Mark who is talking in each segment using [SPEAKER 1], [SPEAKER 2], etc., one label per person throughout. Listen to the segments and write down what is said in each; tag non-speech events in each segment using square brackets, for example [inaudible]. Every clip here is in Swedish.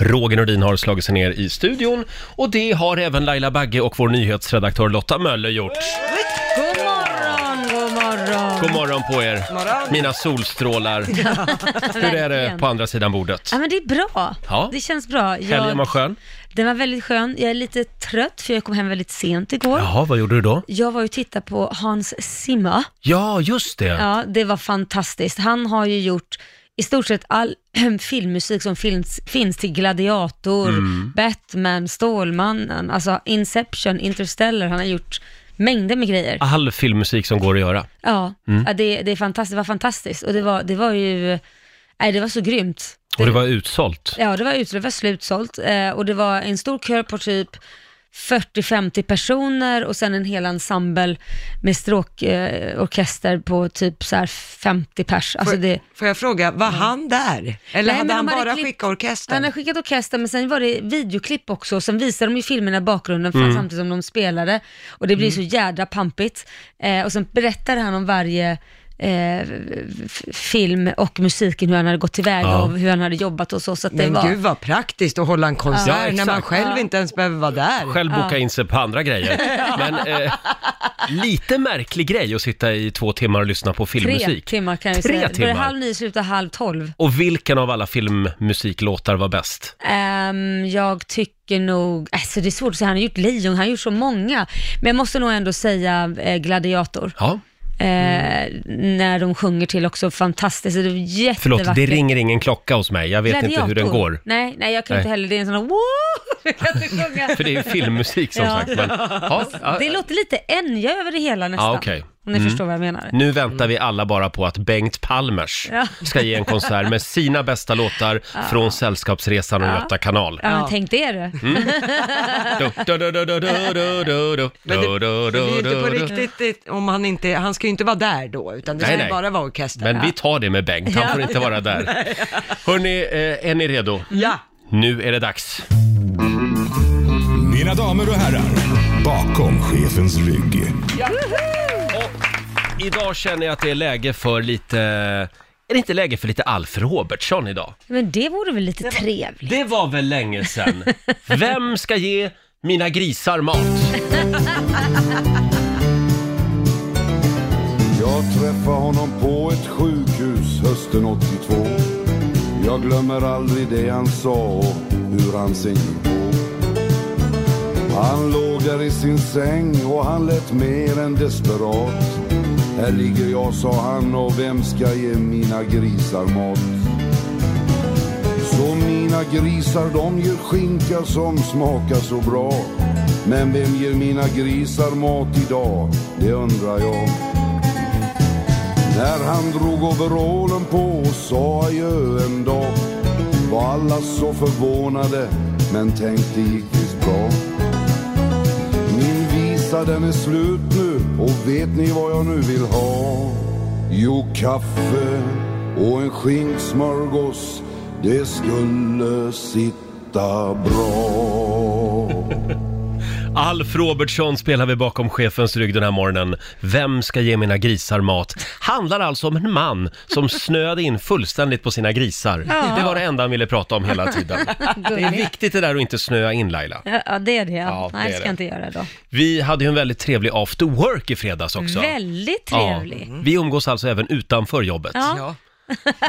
[SPEAKER 1] Roger Nordin har slagit sig ner i studion och det har även Laila Bagge och vår nyhetsredaktör Lotta Möller gjort.
[SPEAKER 2] God morgon, god morgon.
[SPEAKER 1] God morgon på er,
[SPEAKER 3] Morgon.
[SPEAKER 1] mina solstrålar. Hur är det
[SPEAKER 2] Verkligen.
[SPEAKER 1] på andra sidan bordet?
[SPEAKER 2] Ja, men det är bra.
[SPEAKER 1] Ja.
[SPEAKER 2] Det känns bra.
[SPEAKER 1] Helgen var
[SPEAKER 2] Jag,
[SPEAKER 1] skön.
[SPEAKER 2] den var väldigt skön. Jag är lite trött för jag kom hem väldigt sent igår.
[SPEAKER 1] Jaha, vad gjorde du då?
[SPEAKER 2] Jag var ju och tittade på Hans Zimmer.
[SPEAKER 1] Ja, just det.
[SPEAKER 2] Ja, det var fantastiskt. Han har ju gjort i stort sett all [clears throat] filmmusik som finns, finns till Gladiator,
[SPEAKER 1] Mm.
[SPEAKER 2] Batman, Stålmannen, alltså Inception, Interstellar. Han har gjort mängder med grejer.
[SPEAKER 1] All filmmusik som går att göra.
[SPEAKER 2] Ja,
[SPEAKER 1] Mm.
[SPEAKER 2] ja det, det, är fantastiskt, det var fantastiskt. Och det var, det var ju, nej det var så grymt.
[SPEAKER 1] Och det var utsålt.
[SPEAKER 2] Ja, det var utsålt, det var slutsålt eh, och det var en stor kör på typ 40-50 personer och sen en hel ensemble med stråkorkester eh, orkester på typ så här 50 pers. Alltså
[SPEAKER 3] Får,
[SPEAKER 2] det,
[SPEAKER 3] får jag fråga, var han där? Eller
[SPEAKER 2] Nej, men
[SPEAKER 3] hade han
[SPEAKER 2] de hade
[SPEAKER 3] bara
[SPEAKER 2] klipp-
[SPEAKER 3] skickat orkestern?
[SPEAKER 2] han har skickat orkester men sen var det videoklipp också och sen visade de ju filmerna i bakgrunden för- samtidigt som de spelade och det blir så jädra pampigt. Eh, och sen berättade han om varje eh, f- film och musiken, hur han hade gått tillväga
[SPEAKER 1] Ja.
[SPEAKER 2] och hur han hade jobbat och så. så att det
[SPEAKER 3] Men
[SPEAKER 2] var...
[SPEAKER 3] gud vad praktiskt att hålla en konsert när man
[SPEAKER 1] exakt.
[SPEAKER 3] själv
[SPEAKER 2] Ja.
[SPEAKER 3] inte ens behöver vara där.
[SPEAKER 1] Själv boka in sig på andra
[SPEAKER 2] [laughs]
[SPEAKER 1] grejer. Men eh, lite märklig grej att sitta i två timmar och lyssna på
[SPEAKER 2] Tre
[SPEAKER 1] filmmusik.
[SPEAKER 2] timmar kan jag ju
[SPEAKER 1] Tre
[SPEAKER 2] säga. Det började
[SPEAKER 1] timmar?
[SPEAKER 2] halv nio, slutade halv tolv.
[SPEAKER 1] Och vilken av alla filmmusiklåtar var bäst?
[SPEAKER 2] Ehm, jag tycker nog, alltså det är svårt att säga, han har gjort Lejon, han har gjort så många. Men jag måste nog ändå säga eh, Gladiator.
[SPEAKER 1] Ja,
[SPEAKER 2] Eh, När de sjunger till också, fantastiskt. Det är jättevackert.
[SPEAKER 1] Mm. Förlåt, det ringer ingen klocka hos mig. Jag vet inte hur den
[SPEAKER 2] Gladiator.
[SPEAKER 1] går.
[SPEAKER 2] Nej, nej jag kan
[SPEAKER 1] Nej.
[SPEAKER 2] inte heller, det är en sån här wow! [laughs] Jag
[SPEAKER 1] [laughs]
[SPEAKER 2] kan inte sjunga.
[SPEAKER 1] För det är ju filmmusik som
[SPEAKER 2] Ja.
[SPEAKER 1] sagt. Men, ja, ja.
[SPEAKER 2] Det låter lite Enya över det hela nästan.
[SPEAKER 1] Ja, okej. Mm.
[SPEAKER 2] Om ni förstår vad jag menar.
[SPEAKER 1] Nu väntar vi alla bara på att Bengt Palmers
[SPEAKER 2] Ja.
[SPEAKER 1] ska ge en konsert med sina bästa låtar från Sällskapsresan och Göta kanal.
[SPEAKER 2] Ja, men
[SPEAKER 3] Ja.
[SPEAKER 2] tänk det du.
[SPEAKER 1] Mm. Du, du, du, du, du, du, du, du, du,
[SPEAKER 3] Men det,
[SPEAKER 1] du,
[SPEAKER 3] det blir ju
[SPEAKER 1] du,
[SPEAKER 3] inte på
[SPEAKER 1] du, du.
[SPEAKER 3] riktigt, det- om han inte, han ska ju inte vara där då, utan det
[SPEAKER 1] Nej,
[SPEAKER 3] ska
[SPEAKER 1] nej.
[SPEAKER 3] ju bara vara orkestern. Mm.
[SPEAKER 1] Men vi tar det med Bengt, han får inte vara där. Hörni, är ni redo?
[SPEAKER 3] Ja,
[SPEAKER 1] Nu är det dags.
[SPEAKER 4] Mina damer och herrar, bakom chefens rygg.
[SPEAKER 1] Idag känner jag att det är läge för lite... Är det inte läge för lite Alf Robertsson idag?
[SPEAKER 2] Men det vore väl lite trevligt?
[SPEAKER 1] Det var väl länge sedan. Vem ska ge mina grisar mat?
[SPEAKER 5] Jag träffade honom på ett sjukhus hösten 82 Jag glömmer aldrig det han sa och hur han sen gick på Han låg där i sin säng och han lät mer än desperat Här ligger jag, sa han, och vem ska ge mina grisar mat? Så mina grisar de gör skinka som smakar så bra Men vem ger mina grisar mat idag? Det undrar jag när han drog overallen på och sa adjö en dag var alla så förvånade, men tänkte gick visst bra. Min visa den är slut nu och vet ni vad jag nu vill ha? Jo, kaffe och en skinksmörgås, det skulle sitta bra.
[SPEAKER 1] Alf Robertsson spelar vi bakom chefens rygg den här morgonen. Vem ska ge mina grisar mat? Handlar alltså om en man som snöade in fullständigt på sina grisar. Det var det enda han ville prata om hela tiden. Det är viktigt det där att inte snöa in Laila.
[SPEAKER 2] Ja, ja, det är det.
[SPEAKER 1] Ja, det
[SPEAKER 2] Nej,
[SPEAKER 1] är
[SPEAKER 2] det ska
[SPEAKER 1] det.
[SPEAKER 2] jag inte göra då.
[SPEAKER 1] Vi hade ju en väldigt trevlig after work i fredags också.
[SPEAKER 2] Väldigt
[SPEAKER 1] Ja,
[SPEAKER 2] trevlig.
[SPEAKER 1] vi umgås alltså även utanför jobbet.
[SPEAKER 2] Ja.
[SPEAKER 3] ja.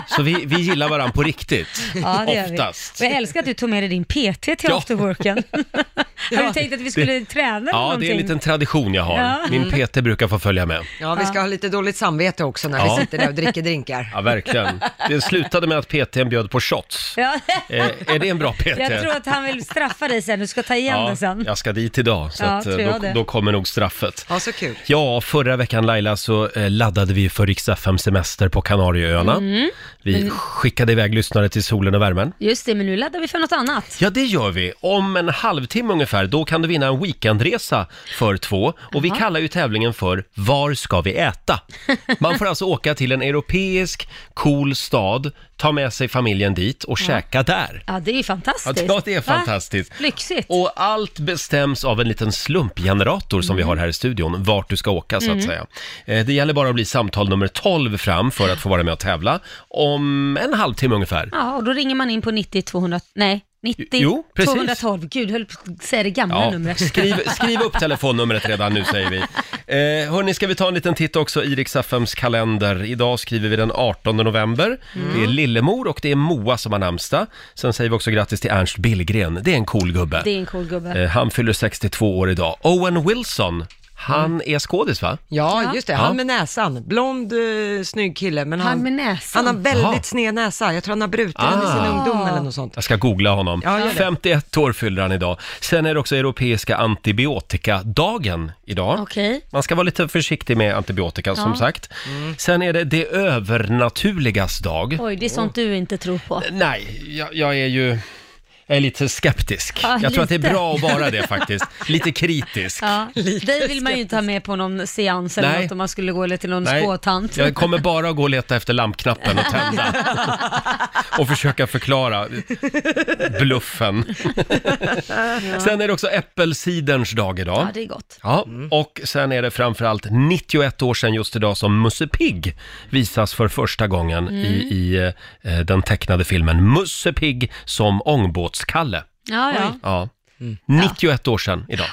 [SPEAKER 1] Så vi, vi gillar varandra på riktigt.
[SPEAKER 2] Ja, det gör vi.
[SPEAKER 1] Oftast.
[SPEAKER 2] Och jag älskar att du tog med dig din PT till
[SPEAKER 1] Ja. [laughs]
[SPEAKER 2] afterworken. Har du tänkt att vi skulle träna eller
[SPEAKER 1] Ja,
[SPEAKER 2] någonting?
[SPEAKER 1] det är en liten tradition jag har. Min PT brukar få följa med.
[SPEAKER 3] ja, vi ska ha lite dåligt samvete också när
[SPEAKER 1] Ja.
[SPEAKER 3] vi sitter där och dricker drinkar.
[SPEAKER 1] Ja, verkligen. Det slutade med att PT bjöd på shots.
[SPEAKER 2] Ja.
[SPEAKER 1] Eh, är det en bra PT?
[SPEAKER 2] Jag tror att han vill straffa dig sen, du ska ta igen det sen.
[SPEAKER 1] jag ska dit idag, så
[SPEAKER 2] Ja,
[SPEAKER 1] att, eh,
[SPEAKER 2] tror jag
[SPEAKER 1] då,
[SPEAKER 2] det.
[SPEAKER 1] då kommer nog straffet.
[SPEAKER 3] Ja, så kul.
[SPEAKER 1] Ja, förra veckan Laila så eh, laddade vi för riks semester på Kanarieöarna.
[SPEAKER 2] Mm.
[SPEAKER 1] Vi skickade iväg lyssnare till solen och värmen.
[SPEAKER 2] Just det, men nu laddar vi för något annat.
[SPEAKER 1] Ja, det gör vi. Om en halvtimme ungefär, då kan du vinna en weekendresa för två. Och vi kallar ju tävlingen för Var ska vi
[SPEAKER 2] [laughs]
[SPEAKER 1] äta? Man får alltså åka till en europeisk, cool stad, ta med sig familjen dit och käka där.
[SPEAKER 2] Ja, det är ju fantastiskt.
[SPEAKER 1] Ja, det är
[SPEAKER 2] Va?
[SPEAKER 1] fantastiskt.
[SPEAKER 2] Lyxigt.
[SPEAKER 1] Och allt bestäms av en liten slumpgenerator som vi
[SPEAKER 2] Mm.
[SPEAKER 1] har här i studion, vart du ska åka så att säga. Eh, Det gäller bara att bli samtal nummer 12 fram för att få vara med och tävla om en halvtimme ungefär.
[SPEAKER 2] Ja, och då ringer man in på 90 200, nej, 90,
[SPEAKER 1] Jo, precis.
[SPEAKER 2] 212. Gud, höll på att säga det gamla
[SPEAKER 1] Ja,
[SPEAKER 2] numret.
[SPEAKER 1] skriv, skriv upp telefonnumret redan nu säger vi. Eh, hörni, ska vi ta en liten titt också i Rix FMs kalender. Idag skriver vi den 18 november. Det är Lillemor och det är Moa som har namnsdag. Sen säger vi också grattis till Ernst Billgren. Det är en cool gubbe.
[SPEAKER 2] Det är en cool gubbe.
[SPEAKER 1] Eh, han fyller 62 år idag. Owen Wilson, han är skådis va?
[SPEAKER 2] Ja.
[SPEAKER 3] Ja, just det. Han
[SPEAKER 1] Ja.
[SPEAKER 3] med näsan. Blond, eh, snygg kille. Men
[SPEAKER 2] Han
[SPEAKER 3] han,
[SPEAKER 2] med näsan.
[SPEAKER 3] Han har väldigt
[SPEAKER 1] Jaha.
[SPEAKER 3] sned näsa. Jag tror han har brutit den i
[SPEAKER 1] Ah.
[SPEAKER 3] sin ungdom eller något sånt.
[SPEAKER 1] Jag ska googla honom.
[SPEAKER 3] Ja, gör det.
[SPEAKER 1] 51 år fyller han idag. Sen är det också Europeiska antibiotikadagen idag.
[SPEAKER 2] Okej.
[SPEAKER 1] Man ska vara lite försiktig med antibiotika som sagt. Sen är det det övernaturligas dag.
[SPEAKER 2] Mm. Oj, det är sånt du inte tror på.
[SPEAKER 1] Nej, jag, jag är ju... Jag är lite skeptisk.
[SPEAKER 2] Ja,
[SPEAKER 1] jag tror att det
[SPEAKER 2] lite.
[SPEAKER 1] är bra att vara
[SPEAKER 2] [laughs]
[SPEAKER 1] det faktiskt. Lite kritisk. [laughs]
[SPEAKER 2] Ja, dig vill man ju inte ha med på någon seans eller
[SPEAKER 1] Nej.
[SPEAKER 2] något om man skulle gå eller till någon
[SPEAKER 1] Nej,
[SPEAKER 2] spåtant.
[SPEAKER 1] jag kommer bara att gå och leta efter lampknappen och
[SPEAKER 2] [laughs]
[SPEAKER 1] tända. och försöka förklara bluffen.
[SPEAKER 2] [laughs]
[SPEAKER 1] sen är det också äppelciderns dag idag.
[SPEAKER 2] Ja, det är gott.
[SPEAKER 1] Ja, och sen är det framförallt 91 år sedan just idag som Musse Pigg visas för första gången i,
[SPEAKER 2] Mm.
[SPEAKER 1] i eh, den tecknade filmen Musse Pigg som ångbåtskalle.
[SPEAKER 2] Ja, ja.
[SPEAKER 1] Ja.
[SPEAKER 2] Mm.
[SPEAKER 1] 91 år sedan idag.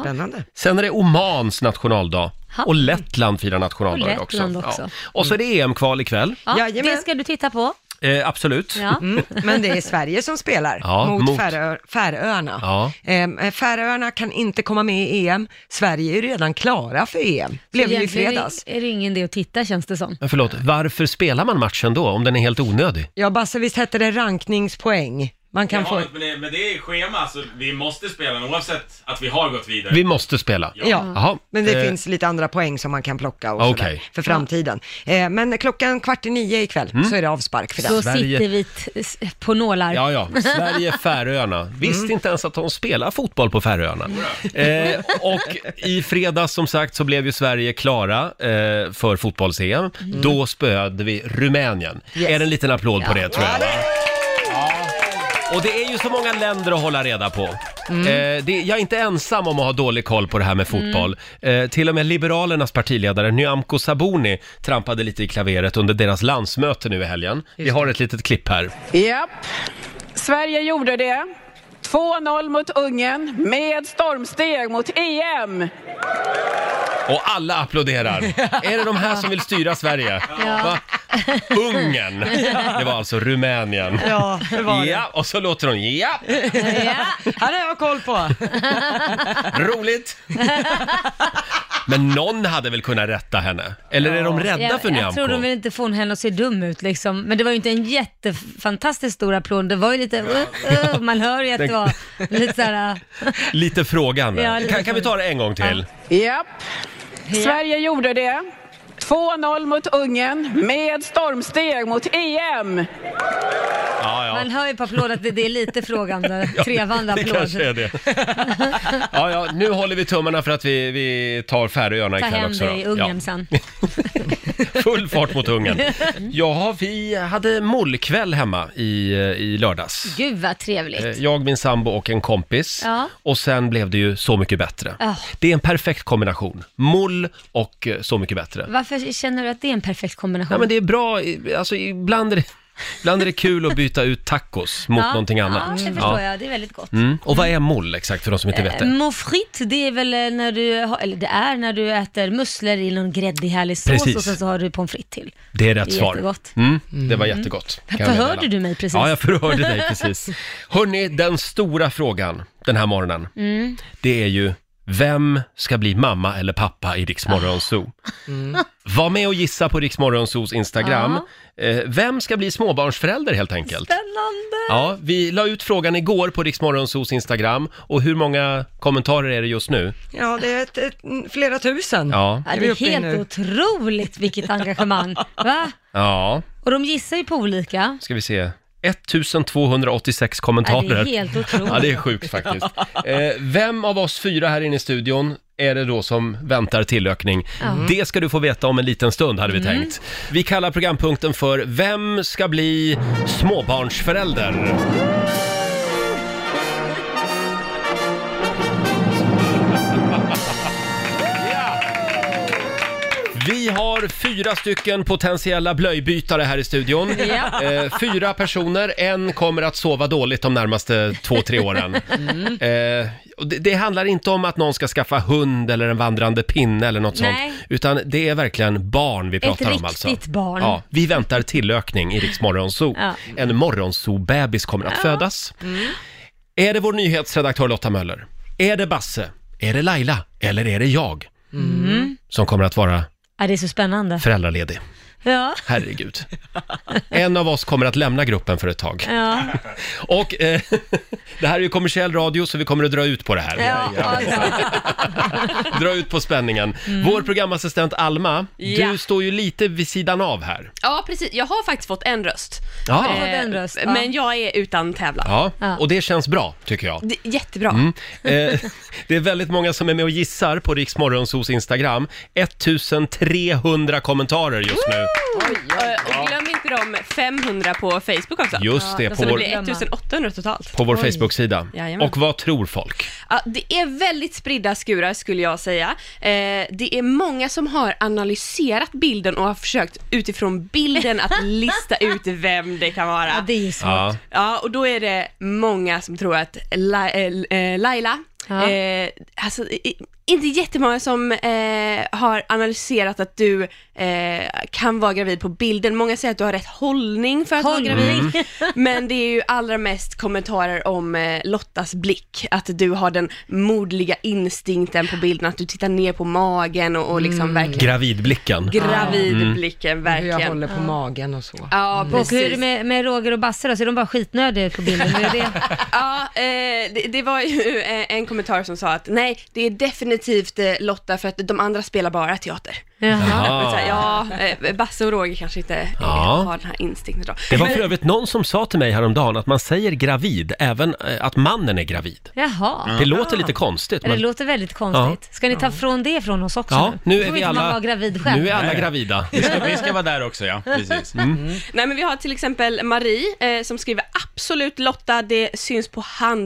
[SPEAKER 3] Spännande.
[SPEAKER 1] Sen är det Omans nationaldag
[SPEAKER 2] Ha.
[SPEAKER 1] och Lettland firar nationaldag
[SPEAKER 2] Och
[SPEAKER 1] idag
[SPEAKER 2] Lettland också.
[SPEAKER 1] Ja. Och så är det EM-kval ikväll,
[SPEAKER 2] ja
[SPEAKER 3] Jajamän.
[SPEAKER 2] det ska du titta på.
[SPEAKER 1] eh, absolut.
[SPEAKER 2] Ja.
[SPEAKER 3] Mm, men det är Sverige som spelar
[SPEAKER 1] Ja,
[SPEAKER 3] mot,
[SPEAKER 1] mot-
[SPEAKER 3] Färö- Färöarna.
[SPEAKER 1] Ja.
[SPEAKER 3] Eh, Färöarna kan inte komma med i EM. Sverige är ju redan klara för EM. Blev
[SPEAKER 2] Så
[SPEAKER 3] ju i
[SPEAKER 2] egentligen
[SPEAKER 3] fredags.
[SPEAKER 2] Är, är det ingen idé att titta känns det som.
[SPEAKER 1] Men förlåt, varför spelar man matchen då om den är helt onödig?
[SPEAKER 3] Ja, Basse, visst hette det rankningspoäng? Man kan få...
[SPEAKER 6] Ja, men, det, men det är schema, så vi måste spela den oavsett att vi har gått vidare. [laughs]
[SPEAKER 1] Vi måste spela.
[SPEAKER 3] Ja.
[SPEAKER 1] Jaha.
[SPEAKER 3] Men det
[SPEAKER 1] eh,
[SPEAKER 3] finns lite andra poäng som man kan plocka och
[SPEAKER 1] Okej.
[SPEAKER 3] sådär, för framtiden. Eh, men klockan kvart i nio ikväll
[SPEAKER 1] Mm.
[SPEAKER 3] så är det avspark för
[SPEAKER 2] Då
[SPEAKER 3] den.
[SPEAKER 1] Sverige-
[SPEAKER 2] sitter vi t- s- på nålar. [laughs]
[SPEAKER 1] Ja, ja. [laughs] Sverige, Färöarna. Visste inte ens att de spelar fotboll på Färöarna. Eh, och i fredags som sagt så blev ju Sverige klara eh, för fotbolls-EM. Då spöade vi Rumänien. Är det en liten applåd på det tror jag? Va? Och det är ju så många länder att hålla reda på. Eh, det, jag är inte ensam om att ha dålig koll på det här med fotboll. Eh, till och med Liberalernas partiledare Nyamko Sabuni trampade lite i klaveret under deras landsmöte nu i helgen. Vi har ett litet klipp här.
[SPEAKER 7] Japp, Sverige gjorde det. 2-0 mot Ungern med stormsteg mot E EM.
[SPEAKER 1] Och alla
[SPEAKER 2] [laughs]
[SPEAKER 1] applåderar. Är det de här som vill styra Sverige? Va? Ungern. Det var alltså Rumänien.
[SPEAKER 3] Ja, det var [laughs] det.
[SPEAKER 1] Ja, och så låter de ja,
[SPEAKER 3] Han har jag koll på.
[SPEAKER 1] roligt.
[SPEAKER 2] [laughs]
[SPEAKER 1] Men någon hade väl kunnat rätta henne? Eller är de rädda
[SPEAKER 2] Jag,
[SPEAKER 1] för
[SPEAKER 2] jag
[SPEAKER 1] Nyamko?
[SPEAKER 2] tror de vill inte få henne att se dum ut liksom. Men det var ju inte en jättefantastiskt stor applåd. Det var ju lite, [laughs] uh, uh, man hör ju att det var lite
[SPEAKER 1] [laughs]
[SPEAKER 2] såhär, uh,
[SPEAKER 1] Lite frågande.
[SPEAKER 2] Ja, lite
[SPEAKER 1] kan, kan vi ta det en gång till?
[SPEAKER 7] Japp, Sverige gjorde det. 2-0 mot Ungern med stormsteg mot E EM.
[SPEAKER 1] Ja, ja.
[SPEAKER 2] man hör ju på applåd att det, det är
[SPEAKER 1] [laughs]
[SPEAKER 2] lite frågande, trevande
[SPEAKER 1] Det
[SPEAKER 2] applåd.
[SPEAKER 1] kanske är det. Ja, ja, nu håller vi tummarna för att vi, vi tar Färöarna
[SPEAKER 2] Ta
[SPEAKER 1] ikväll
[SPEAKER 2] hem
[SPEAKER 1] också. då.
[SPEAKER 2] det i Ungern
[SPEAKER 1] Ja.
[SPEAKER 2] sen.
[SPEAKER 1] Full fart mot
[SPEAKER 2] [laughs]
[SPEAKER 1] Ungern. Ja, vi hade mollkväll hemma i, eh, i lördags.
[SPEAKER 2] Gud vad trevligt.
[SPEAKER 1] Eh, Jag, min sambo och en kompis.
[SPEAKER 2] Ja. Ah.
[SPEAKER 1] Och sen blev det ju Så mycket bättre.
[SPEAKER 2] Ja.
[SPEAKER 1] Det är en perfekt kombination. Moll och eh, Så mycket bättre.
[SPEAKER 2] Varför känner du att det är en perfekt kombination?
[SPEAKER 1] Nej, men det är bra, i- alltså ibland är det, ibland är det kul att byta ut tacos mot
[SPEAKER 2] Ja,
[SPEAKER 1] någonting annat.
[SPEAKER 2] Ja, det förstår jag. Eh, Det är väldigt gott.
[SPEAKER 1] Mm. Och vad är moll exakt för de som inte vet det?
[SPEAKER 2] Mon frites, det är väl eh, när du, har- eller det är när du äter musslor i någon gräddig härlig sås
[SPEAKER 1] Precis.
[SPEAKER 2] och sen så har du pommes frites till.
[SPEAKER 1] Det är rätt svar.
[SPEAKER 2] Jättegott.
[SPEAKER 1] Mm, det var jättegott. kan jag
[SPEAKER 2] Förhörde
[SPEAKER 1] meddela.
[SPEAKER 2] du mig precis?
[SPEAKER 1] Ja, jag förhörde dig
[SPEAKER 2] [laughs]
[SPEAKER 1] precis. Hörni, den stora frågan den här morgonen,
[SPEAKER 2] Mm.
[SPEAKER 1] det är ju vem ska bli mamma eller pappa i Rix Morgon Zoo?
[SPEAKER 2] Ah.
[SPEAKER 1] [laughs] Var med och gissa på Rix Morgon Zoos Instagram. Eh, Vem ska bli småbarnsförälder helt enkelt?
[SPEAKER 2] Spännande!
[SPEAKER 1] Ja, vi la ut frågan igår på Rix Morgon Zoos Instagram och hur många kommentarer är det just nu?
[SPEAKER 3] Ja, det är ett, ett, flera tusen.
[SPEAKER 1] Ja,
[SPEAKER 2] Ja,
[SPEAKER 3] Är
[SPEAKER 2] det
[SPEAKER 3] vi
[SPEAKER 2] är
[SPEAKER 3] uppe i
[SPEAKER 2] helt
[SPEAKER 3] nu?
[SPEAKER 2] otroligt
[SPEAKER 3] [laughs]
[SPEAKER 2] vilket engagemang. Va?
[SPEAKER 1] ja,
[SPEAKER 2] Och de gissar ju på olika.
[SPEAKER 1] ska vi se. 1286
[SPEAKER 2] Ja,
[SPEAKER 1] kommentarer.
[SPEAKER 2] det är helt otroligt.
[SPEAKER 1] Ja, det är sjukt faktiskt. Eh, vem av oss fyra här inne i studion är det då som väntar tillökning? Det ska du få veta om en liten stund, hade vi tänkt. Vi kallar programpunkten för Vem ska bli småbarnsförälder? Ja. Vi har fyra stycken potentiella blöjbytare här i studion.
[SPEAKER 2] Ja.
[SPEAKER 1] Eh, fyra personer, en kommer att sova dåligt de närmaste två, tre åren.
[SPEAKER 2] Mm.
[SPEAKER 1] Eh, och det, det handlar inte om att någon ska skaffa hund eller en vandrande pinne eller något
[SPEAKER 2] Nej.
[SPEAKER 1] sånt, utan det är verkligen barn vi pratar om alltså.
[SPEAKER 2] riktigt barn.
[SPEAKER 1] Ja, vi väntar tillökning i
[SPEAKER 2] [laughs]
[SPEAKER 1] Rix Morgonzoo.
[SPEAKER 2] Ja. Mm.
[SPEAKER 1] En morgonzoo-bebis kommer att födas. Är det vår nyhetsredaktör Lotta Möller? Är det Basse? Är det Laila? Eller är det jag?
[SPEAKER 2] Mm.
[SPEAKER 1] Som kommer att vara
[SPEAKER 2] Ja, det är så spännande.
[SPEAKER 1] föräldraledig.
[SPEAKER 2] Ja.
[SPEAKER 1] Herregud. En av oss kommer att lämna gruppen för ett tag.
[SPEAKER 2] Ja,
[SPEAKER 1] Och eh, det här är ju kommersiell radio så vi kommer att dra ut på det här.
[SPEAKER 2] ja, ja.
[SPEAKER 1] Dra ut på spänningen. Vår programassistent Alma,
[SPEAKER 8] Mm. Ja.
[SPEAKER 1] du står ju lite vid sidan av här.
[SPEAKER 8] Ja, precis. Jag har faktiskt fått en röst.
[SPEAKER 1] Ja.
[SPEAKER 2] fått en röst,
[SPEAKER 8] Eh,
[SPEAKER 2] ja.
[SPEAKER 8] Men jag är utan tävlan.
[SPEAKER 1] Ja,
[SPEAKER 2] Ja.
[SPEAKER 1] och det känns bra tycker jag.
[SPEAKER 8] Det är jättebra.
[SPEAKER 1] Eh, det är väldigt många som är med och gissar på Rix Morgonzos Instagram. 1300 kommentarer just nu.
[SPEAKER 8] Eh, Och glöm inte de 500 på Facebook också.
[SPEAKER 1] Just det,
[SPEAKER 2] då
[SPEAKER 1] på
[SPEAKER 8] Så det
[SPEAKER 2] vår-
[SPEAKER 8] blir 1800 totalt.
[SPEAKER 1] På vår Facebook-sida.
[SPEAKER 8] Jajamän.
[SPEAKER 1] Och vad tror folk?
[SPEAKER 8] Ja, det är väldigt spridda skurar skulle jag säga. Eh, det är många som har analyserat bilden och har försökt utifrån bilden att lista ut vem det kan vara.
[SPEAKER 2] ja, det är ju så.
[SPEAKER 1] Ja.
[SPEAKER 8] Ja, och då är det många som tror att La- eh, eh, Laila,
[SPEAKER 2] Ja.
[SPEAKER 8] eh, alltså, i- inte jättemånga som eh, har analyserat att du eh, kan vara gravid på bilden. Många säger att du har rätt hållning för att
[SPEAKER 2] Hållning.
[SPEAKER 8] vara
[SPEAKER 1] Mm.
[SPEAKER 8] gravid. [laughs] Men det är ju allra mest kommentarer om eh, Lottas blick, att du har den modliga instinkten på bilden, att du tittar ner på magen och, och liksom verkligen
[SPEAKER 1] Gravidblicken.
[SPEAKER 8] gravidblicken,
[SPEAKER 3] Hur jag
[SPEAKER 8] verkligen.
[SPEAKER 3] håller på magen och så.
[SPEAKER 8] Ja,
[SPEAKER 2] Och hur är det
[SPEAKER 8] precis.
[SPEAKER 2] med, med Roger och Basse då? Så är de bara skitnödiga ut på bilden? Hur är det?
[SPEAKER 1] [laughs]
[SPEAKER 8] Ja, eh, det, det var ju eh, en kommentar som sa att nej, det är definitivt eh, Lotta för att de andra spelar bara teater.
[SPEAKER 2] Jaha.
[SPEAKER 8] Och Så
[SPEAKER 1] Ah.
[SPEAKER 8] här, ja, eh, Basse och Roger kanske inte eh,
[SPEAKER 1] Ja.
[SPEAKER 8] har den här instinkten då.
[SPEAKER 1] Det var för övrigt någon som sa till mig häromdagen att man säger gravid även eh, att mannen är gravid.
[SPEAKER 2] Jaha.
[SPEAKER 1] Det låter lite konstigt.
[SPEAKER 2] Det
[SPEAKER 1] Men...
[SPEAKER 2] Ah. låter väldigt konstigt. Ska ni ta från det från oss också?
[SPEAKER 1] Ja, nu är
[SPEAKER 2] Då
[SPEAKER 1] vi
[SPEAKER 2] vet man
[SPEAKER 1] alla,
[SPEAKER 2] vara gravid själv.
[SPEAKER 1] nu är alla gravida.
[SPEAKER 6] Vi ska, vi ska vara där också ja, precis. Mm.
[SPEAKER 8] Nej men vi har till exempel Marie eh, som skriver absolut Lotta, det syns på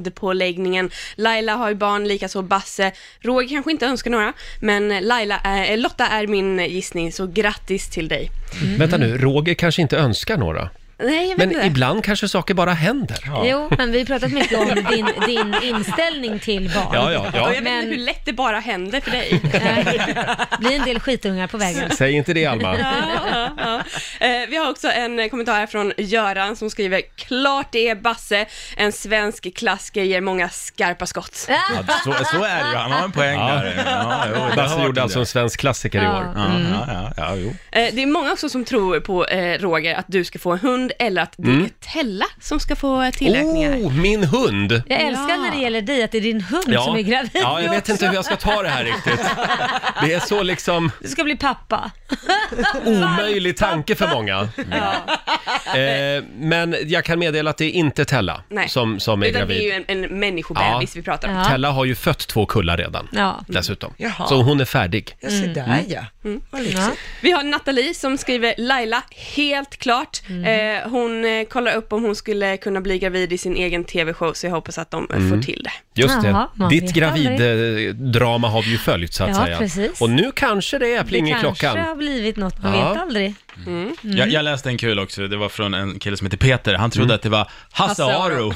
[SPEAKER 8] handpåläggningen. Laila har ju barn, likaså Basse. Roger kanske inte önskar några, men Laila, eh, Lotta är min gissning, så grattis till dig.
[SPEAKER 2] Mm.
[SPEAKER 1] Vänta nu, Roger kanske inte önskar några.
[SPEAKER 8] Nej, jag vet
[SPEAKER 1] Men
[SPEAKER 8] inte.
[SPEAKER 1] ibland kanske saker bara händer.
[SPEAKER 2] Jo, men vi har pratat mycket om din, din inställning till barn.
[SPEAKER 1] Ja, ja, ja.
[SPEAKER 8] Och jag vet
[SPEAKER 2] Men-
[SPEAKER 8] inte hur lätt det bara händer för dig.
[SPEAKER 2] Eh, blir en del skitungar på vägen.
[SPEAKER 1] Säg inte det
[SPEAKER 2] [laughs]
[SPEAKER 1] Alma.
[SPEAKER 8] ja, ja, ja. [laughs] Eh, Vi har också en eh, kommentar här från Göran som skriver “Klart det är Basse, en svensk klassiker ger många skarpa skott”.
[SPEAKER 6] [laughs] Ja, så, så är det ju, han har en poäng
[SPEAKER 1] Ja.
[SPEAKER 6] där. Ja, jo, det har
[SPEAKER 1] Basse
[SPEAKER 6] varit Mm.
[SPEAKER 1] gjorde
[SPEAKER 6] en
[SPEAKER 1] alltså
[SPEAKER 6] del.
[SPEAKER 1] en svensk klassiker i år.
[SPEAKER 6] Ja, ja, ja, ja, jo.
[SPEAKER 8] Eh, Det är många också som tror på eh, Roger, att du ska få en hund eller att det är Tella som ska få eh, tilläkningar.
[SPEAKER 1] Mm. Oh, min hund!
[SPEAKER 2] Jag älskar när det gäller dig, att det är din hund som är gravid.
[SPEAKER 1] ja, jag vet inte hur jag ska ta det här
[SPEAKER 2] [laughs]
[SPEAKER 1] riktigt. Det är så liksom
[SPEAKER 2] Du ska bli pappa.
[SPEAKER 1] omöjlig tanke för många. Eh, men jag kan meddela att det är inte Tella
[SPEAKER 8] Nej.
[SPEAKER 1] som, som är
[SPEAKER 8] Utan det är ju
[SPEAKER 1] gravid.
[SPEAKER 8] en, en människobebis
[SPEAKER 1] Ja.
[SPEAKER 8] vi pratar om.
[SPEAKER 2] Ja.
[SPEAKER 1] Tella har ju fött två kullar redan,
[SPEAKER 2] Ja.
[SPEAKER 1] dessutom.
[SPEAKER 3] Jaha.
[SPEAKER 1] Så hon är färdig.
[SPEAKER 3] Ja, se där Mm. ja. Vad lyxigt.
[SPEAKER 8] Vi har Nathalie som skriver Laila, helt klart. Eh, hon eh, kollar upp om hon skulle kunna bli gravid i sin egen tv-show, så jag hoppas att de eh,
[SPEAKER 1] Mm.
[SPEAKER 8] får till det.
[SPEAKER 1] Just
[SPEAKER 2] Jaha,
[SPEAKER 1] det.
[SPEAKER 2] man
[SPEAKER 1] Ditt
[SPEAKER 2] vet
[SPEAKER 1] graviddrama har vi ju följt, så att
[SPEAKER 2] Ja,
[SPEAKER 1] säga.
[SPEAKER 2] precis.
[SPEAKER 1] Och nu kanske det är pling i
[SPEAKER 2] det
[SPEAKER 1] klockan.
[SPEAKER 2] kanske har blivit något, man
[SPEAKER 1] Ja.
[SPEAKER 2] vet aldrig.
[SPEAKER 6] Jag, jag läste en kul också, det var från en kille som heter Peter, han trodde att det var Mm. Hasse
[SPEAKER 8] Hasse
[SPEAKER 6] [laughs]
[SPEAKER 8] Aro.
[SPEAKER 6] Aro.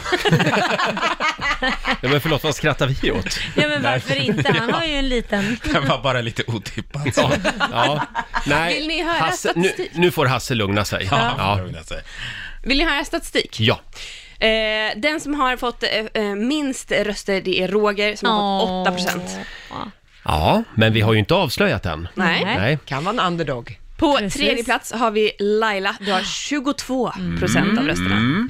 [SPEAKER 1] Nej, men förlåt, vad skrattar vi åt?
[SPEAKER 2] Ja, men varför inte? Han har ju en liten...
[SPEAKER 6] Det var bara lite otippat.
[SPEAKER 1] Ja, ja. Nej,
[SPEAKER 8] Vill ni höra
[SPEAKER 1] Hasse, nu,
[SPEAKER 8] statistik?
[SPEAKER 1] nu får Hasse lugna sig. Ja.
[SPEAKER 6] lugna sig.
[SPEAKER 8] Vill ni höra statistik?
[SPEAKER 1] ja.
[SPEAKER 8] Eh, den som har fått eh, eh, minst röster, det är Roger som har fått 8 procent.
[SPEAKER 1] Ja, men vi har ju inte avslöjat den.
[SPEAKER 8] Nej.
[SPEAKER 2] Nej.
[SPEAKER 1] Nej.
[SPEAKER 3] Kan vara en underdog.
[SPEAKER 8] På
[SPEAKER 2] Precis.
[SPEAKER 8] tredje plats har vi Laila, du har 22 procent av rösterna.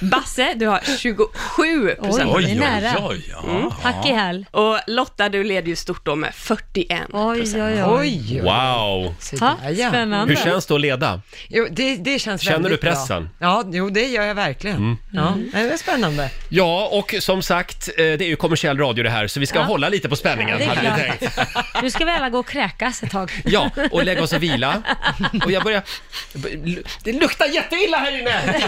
[SPEAKER 8] Basse, du har 27 procent.
[SPEAKER 2] Oj.
[SPEAKER 6] Oj,
[SPEAKER 2] Det är
[SPEAKER 6] oj,
[SPEAKER 2] nära.
[SPEAKER 6] oj. Ja.
[SPEAKER 2] Mm. Hack i häl.
[SPEAKER 8] Och Lotta, du leder ju stort då med 41
[SPEAKER 2] Oj,
[SPEAKER 8] procent.
[SPEAKER 2] oj, oj.
[SPEAKER 3] Oj!
[SPEAKER 1] Wow!
[SPEAKER 3] Se
[SPEAKER 2] Ha,
[SPEAKER 3] där ja.
[SPEAKER 2] spännande.
[SPEAKER 1] Hur känns det att leda?
[SPEAKER 3] Jo, det, det känns
[SPEAKER 1] Känner
[SPEAKER 3] väldigt
[SPEAKER 1] du pressen?
[SPEAKER 3] Bra. Ja, jo det gör jag verkligen. Ja, det är spännande.
[SPEAKER 1] Ja, och som sagt, eh, det är ju kommersiell radio det här, så vi ska hålla lite på spänningen,
[SPEAKER 2] Ja, det är
[SPEAKER 1] hade vi
[SPEAKER 2] klart.
[SPEAKER 1] tänkt.
[SPEAKER 2] Nu ska vi alla gå och kräkas ett tag.
[SPEAKER 1] Ja, och lägga oss och vila. Och jag börjar... Det luktar jätteilla här inne!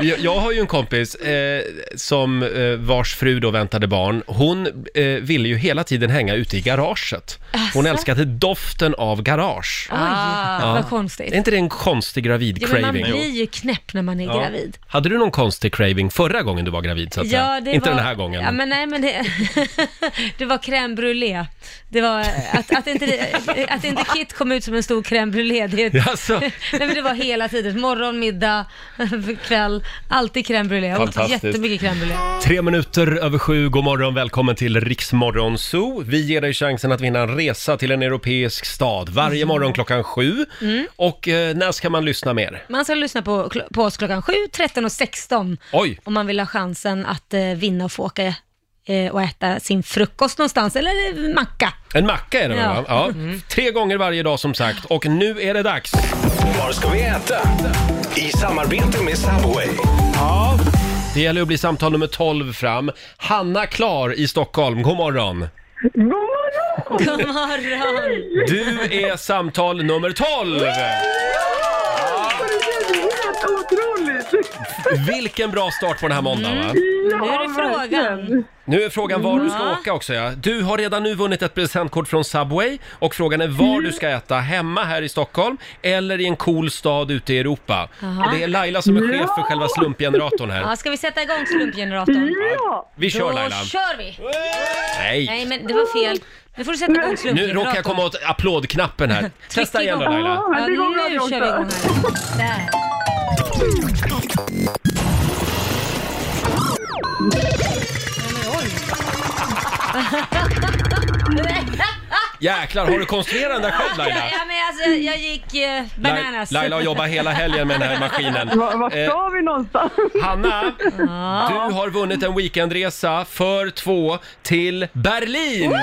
[SPEAKER 1] Jag, jag har ju en kompis eh, som eh, vars fru då väntade barn. Hon eh, ville ju hela tiden hänga ute i garaget. Hon älskade doften av garage.
[SPEAKER 9] Oj,
[SPEAKER 2] Ah.
[SPEAKER 9] vad
[SPEAKER 1] Är
[SPEAKER 9] konstigt.
[SPEAKER 1] inte det en konstig
[SPEAKER 2] Jo, men man
[SPEAKER 1] gravid-craving?
[SPEAKER 2] blir ju knäpp när man är gravid.
[SPEAKER 1] Hade du någon konstig craving förra gången du var gravid? Så att säga? inte
[SPEAKER 2] var-
[SPEAKER 1] den här gången. [laughs]
[SPEAKER 2] Ja, men nej, men det, [laughs] det var crème brûlée. Det var att, att, inte, det- att inte Kit kom ut som en stor crème brûlée. Det,
[SPEAKER 1] Jaså?
[SPEAKER 2] nej, men det var hela tiden. Morgon, middag, [laughs] kväll. Alltid crème brûlée. Jag åt
[SPEAKER 1] Fantastiskt.
[SPEAKER 2] jättemycket crème brûlée.
[SPEAKER 1] Tre minuter över sju, god morgon, välkommen till Riksmorgon Zoo. Vi ger dig chansen att vinna en resa till en europeisk stad varje morgon klockan sju. Och eh, när ska man lyssna mer?
[SPEAKER 2] Man ska lyssna på, på oss klockan 7, 13 och 16
[SPEAKER 1] Oj!
[SPEAKER 2] om man vill ha chansen att eh, vinna och få åka eh, och äta sin frukost någonstans, eller eh, macka.
[SPEAKER 1] En macka är det väl,
[SPEAKER 2] Ja.
[SPEAKER 1] va? Ja. Tre gånger varje dag som sagt. Och nu är det dags!
[SPEAKER 4] Var ska vi äta? I samarbete med Subway.
[SPEAKER 1] Det gäller att bli samtal nummer 12 fram. Hanna Klar i Stockholm, god morgon!
[SPEAKER 2] God morgon!
[SPEAKER 1] Du är samtal nummer 12!
[SPEAKER 10] Helt otroligt!
[SPEAKER 1] Vilken bra start på den här måndagen va?
[SPEAKER 2] Nu är det frågan.
[SPEAKER 1] Nu är frågan var du ska
[SPEAKER 2] Ja.
[SPEAKER 1] åka också ja. Du har redan nu vunnit ett presentkort från Subway och frågan är var
[SPEAKER 2] Mm.
[SPEAKER 1] du ska äta, hemma här i Stockholm eller i en cool stad ute i Europa.
[SPEAKER 2] Jaha.
[SPEAKER 1] Och det är Laila som är chef för själva slumpgeneratorn här.
[SPEAKER 2] Ja, ska vi sätta igång slumpgeneratorn?
[SPEAKER 10] Ja,
[SPEAKER 1] Vi kör
[SPEAKER 2] Då
[SPEAKER 1] Laila!
[SPEAKER 2] kör vi!
[SPEAKER 1] Nej!
[SPEAKER 2] Nej men det var fel. Nu får du sätta igång
[SPEAKER 1] Nu
[SPEAKER 2] slumpgeneratorn.
[SPEAKER 1] råkar jag komma åt applådknappen
[SPEAKER 2] [laughs]
[SPEAKER 1] här. Testa igen då
[SPEAKER 2] igång.
[SPEAKER 1] Laila.
[SPEAKER 10] men
[SPEAKER 2] Ja,
[SPEAKER 10] det går bra
[SPEAKER 2] nu
[SPEAKER 10] det
[SPEAKER 2] kör vi igång
[SPEAKER 10] också.
[SPEAKER 2] här. Där.
[SPEAKER 1] Jäklar, har du konstruerat den där själv
[SPEAKER 2] [laughs]
[SPEAKER 1] Laila?
[SPEAKER 2] Ja, men alltså, jag gick eh,
[SPEAKER 1] Lai-
[SPEAKER 2] bananas.
[SPEAKER 1] Laila har jobbat hela helgen med den här maskinen.
[SPEAKER 10] Var, var
[SPEAKER 1] Eh,
[SPEAKER 10] ska vi någonstans?
[SPEAKER 1] Hanna, du har vunnit en weekendresa för två till Berlin! [laughs]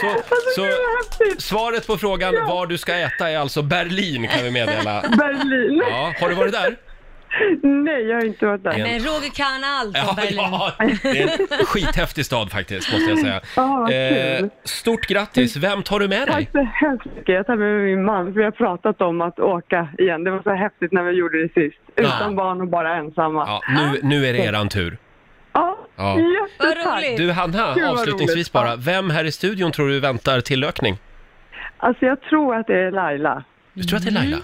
[SPEAKER 1] Så,
[SPEAKER 10] Alltså,
[SPEAKER 1] så
[SPEAKER 10] häftigt.
[SPEAKER 1] svaret på frågan var du ska äta är alltså Berlin kan vi
[SPEAKER 10] [laughs]
[SPEAKER 1] meddela.
[SPEAKER 10] Berlin.
[SPEAKER 1] Ja, har du varit där?
[SPEAKER 10] Nej, jag har inte varit där.
[SPEAKER 2] Men Roger kan allt om
[SPEAKER 1] Ja,
[SPEAKER 2] Berlin.
[SPEAKER 1] ja, det är en skithäftig stad faktiskt måste jag
[SPEAKER 10] Ja, vad
[SPEAKER 1] säga. Eh,
[SPEAKER 10] kul.
[SPEAKER 1] stort grattis! Vem tar du med dig?
[SPEAKER 10] Tack så hemskt mycket. Jag tar med min man, för vi har pratat om att åka igen. Det var så häftigt när vi gjorde det sist. Utan barn och bara ensamma.
[SPEAKER 1] Ja, nu, nu är det eran tur.
[SPEAKER 10] Ja,
[SPEAKER 1] Ja.
[SPEAKER 2] Vad
[SPEAKER 10] jättetack.
[SPEAKER 2] roligt.
[SPEAKER 1] Du Hanna,
[SPEAKER 10] vad
[SPEAKER 1] avslutningsvis
[SPEAKER 10] roligt.
[SPEAKER 1] bara, vem här i studion tror du väntar tillökning?
[SPEAKER 10] Alltså jag tror att det är Laila.
[SPEAKER 1] Du tror att det är Laila?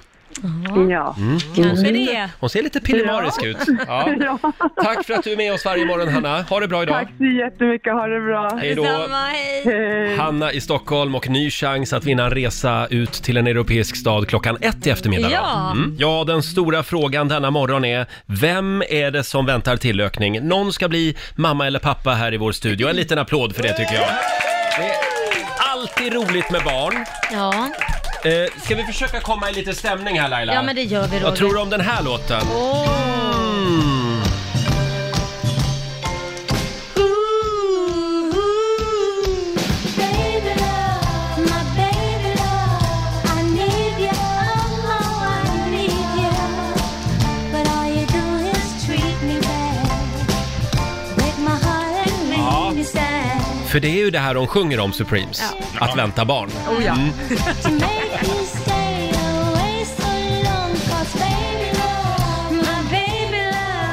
[SPEAKER 10] Ja.
[SPEAKER 1] Mm.
[SPEAKER 2] Kanske det.
[SPEAKER 1] Hon ser lite pillemarisk ut. Ja.
[SPEAKER 10] [laughs] ja.
[SPEAKER 1] Tack för att du är med oss varje morgon Hanna. Ha det bra idag.
[SPEAKER 10] Tack så jättemycket. Ha det bra.
[SPEAKER 1] Hej då.
[SPEAKER 2] Detsamma, hej.
[SPEAKER 10] Hej.
[SPEAKER 1] Hanna i Stockholm och ny chans att vinna en resa ut till en europeisk stad klockan ett i eftermiddag. då.
[SPEAKER 2] Ja.
[SPEAKER 1] Mm. ja, den stora frågan denna morgon är, vem är det som väntar tillökning? Någon ska bli mamma eller pappa här i vår studio. En liten applåd för det tycker jag. Det är alltid roligt med barn.
[SPEAKER 2] Ja.
[SPEAKER 1] Eh, ska vi försöka komma i lite stämning här Laila?
[SPEAKER 2] ja, men det gör vi Roger.
[SPEAKER 1] Vad tror du om den här låten? Mm. För det är ju det här de sjunger om, Supremes. Att vänta barn.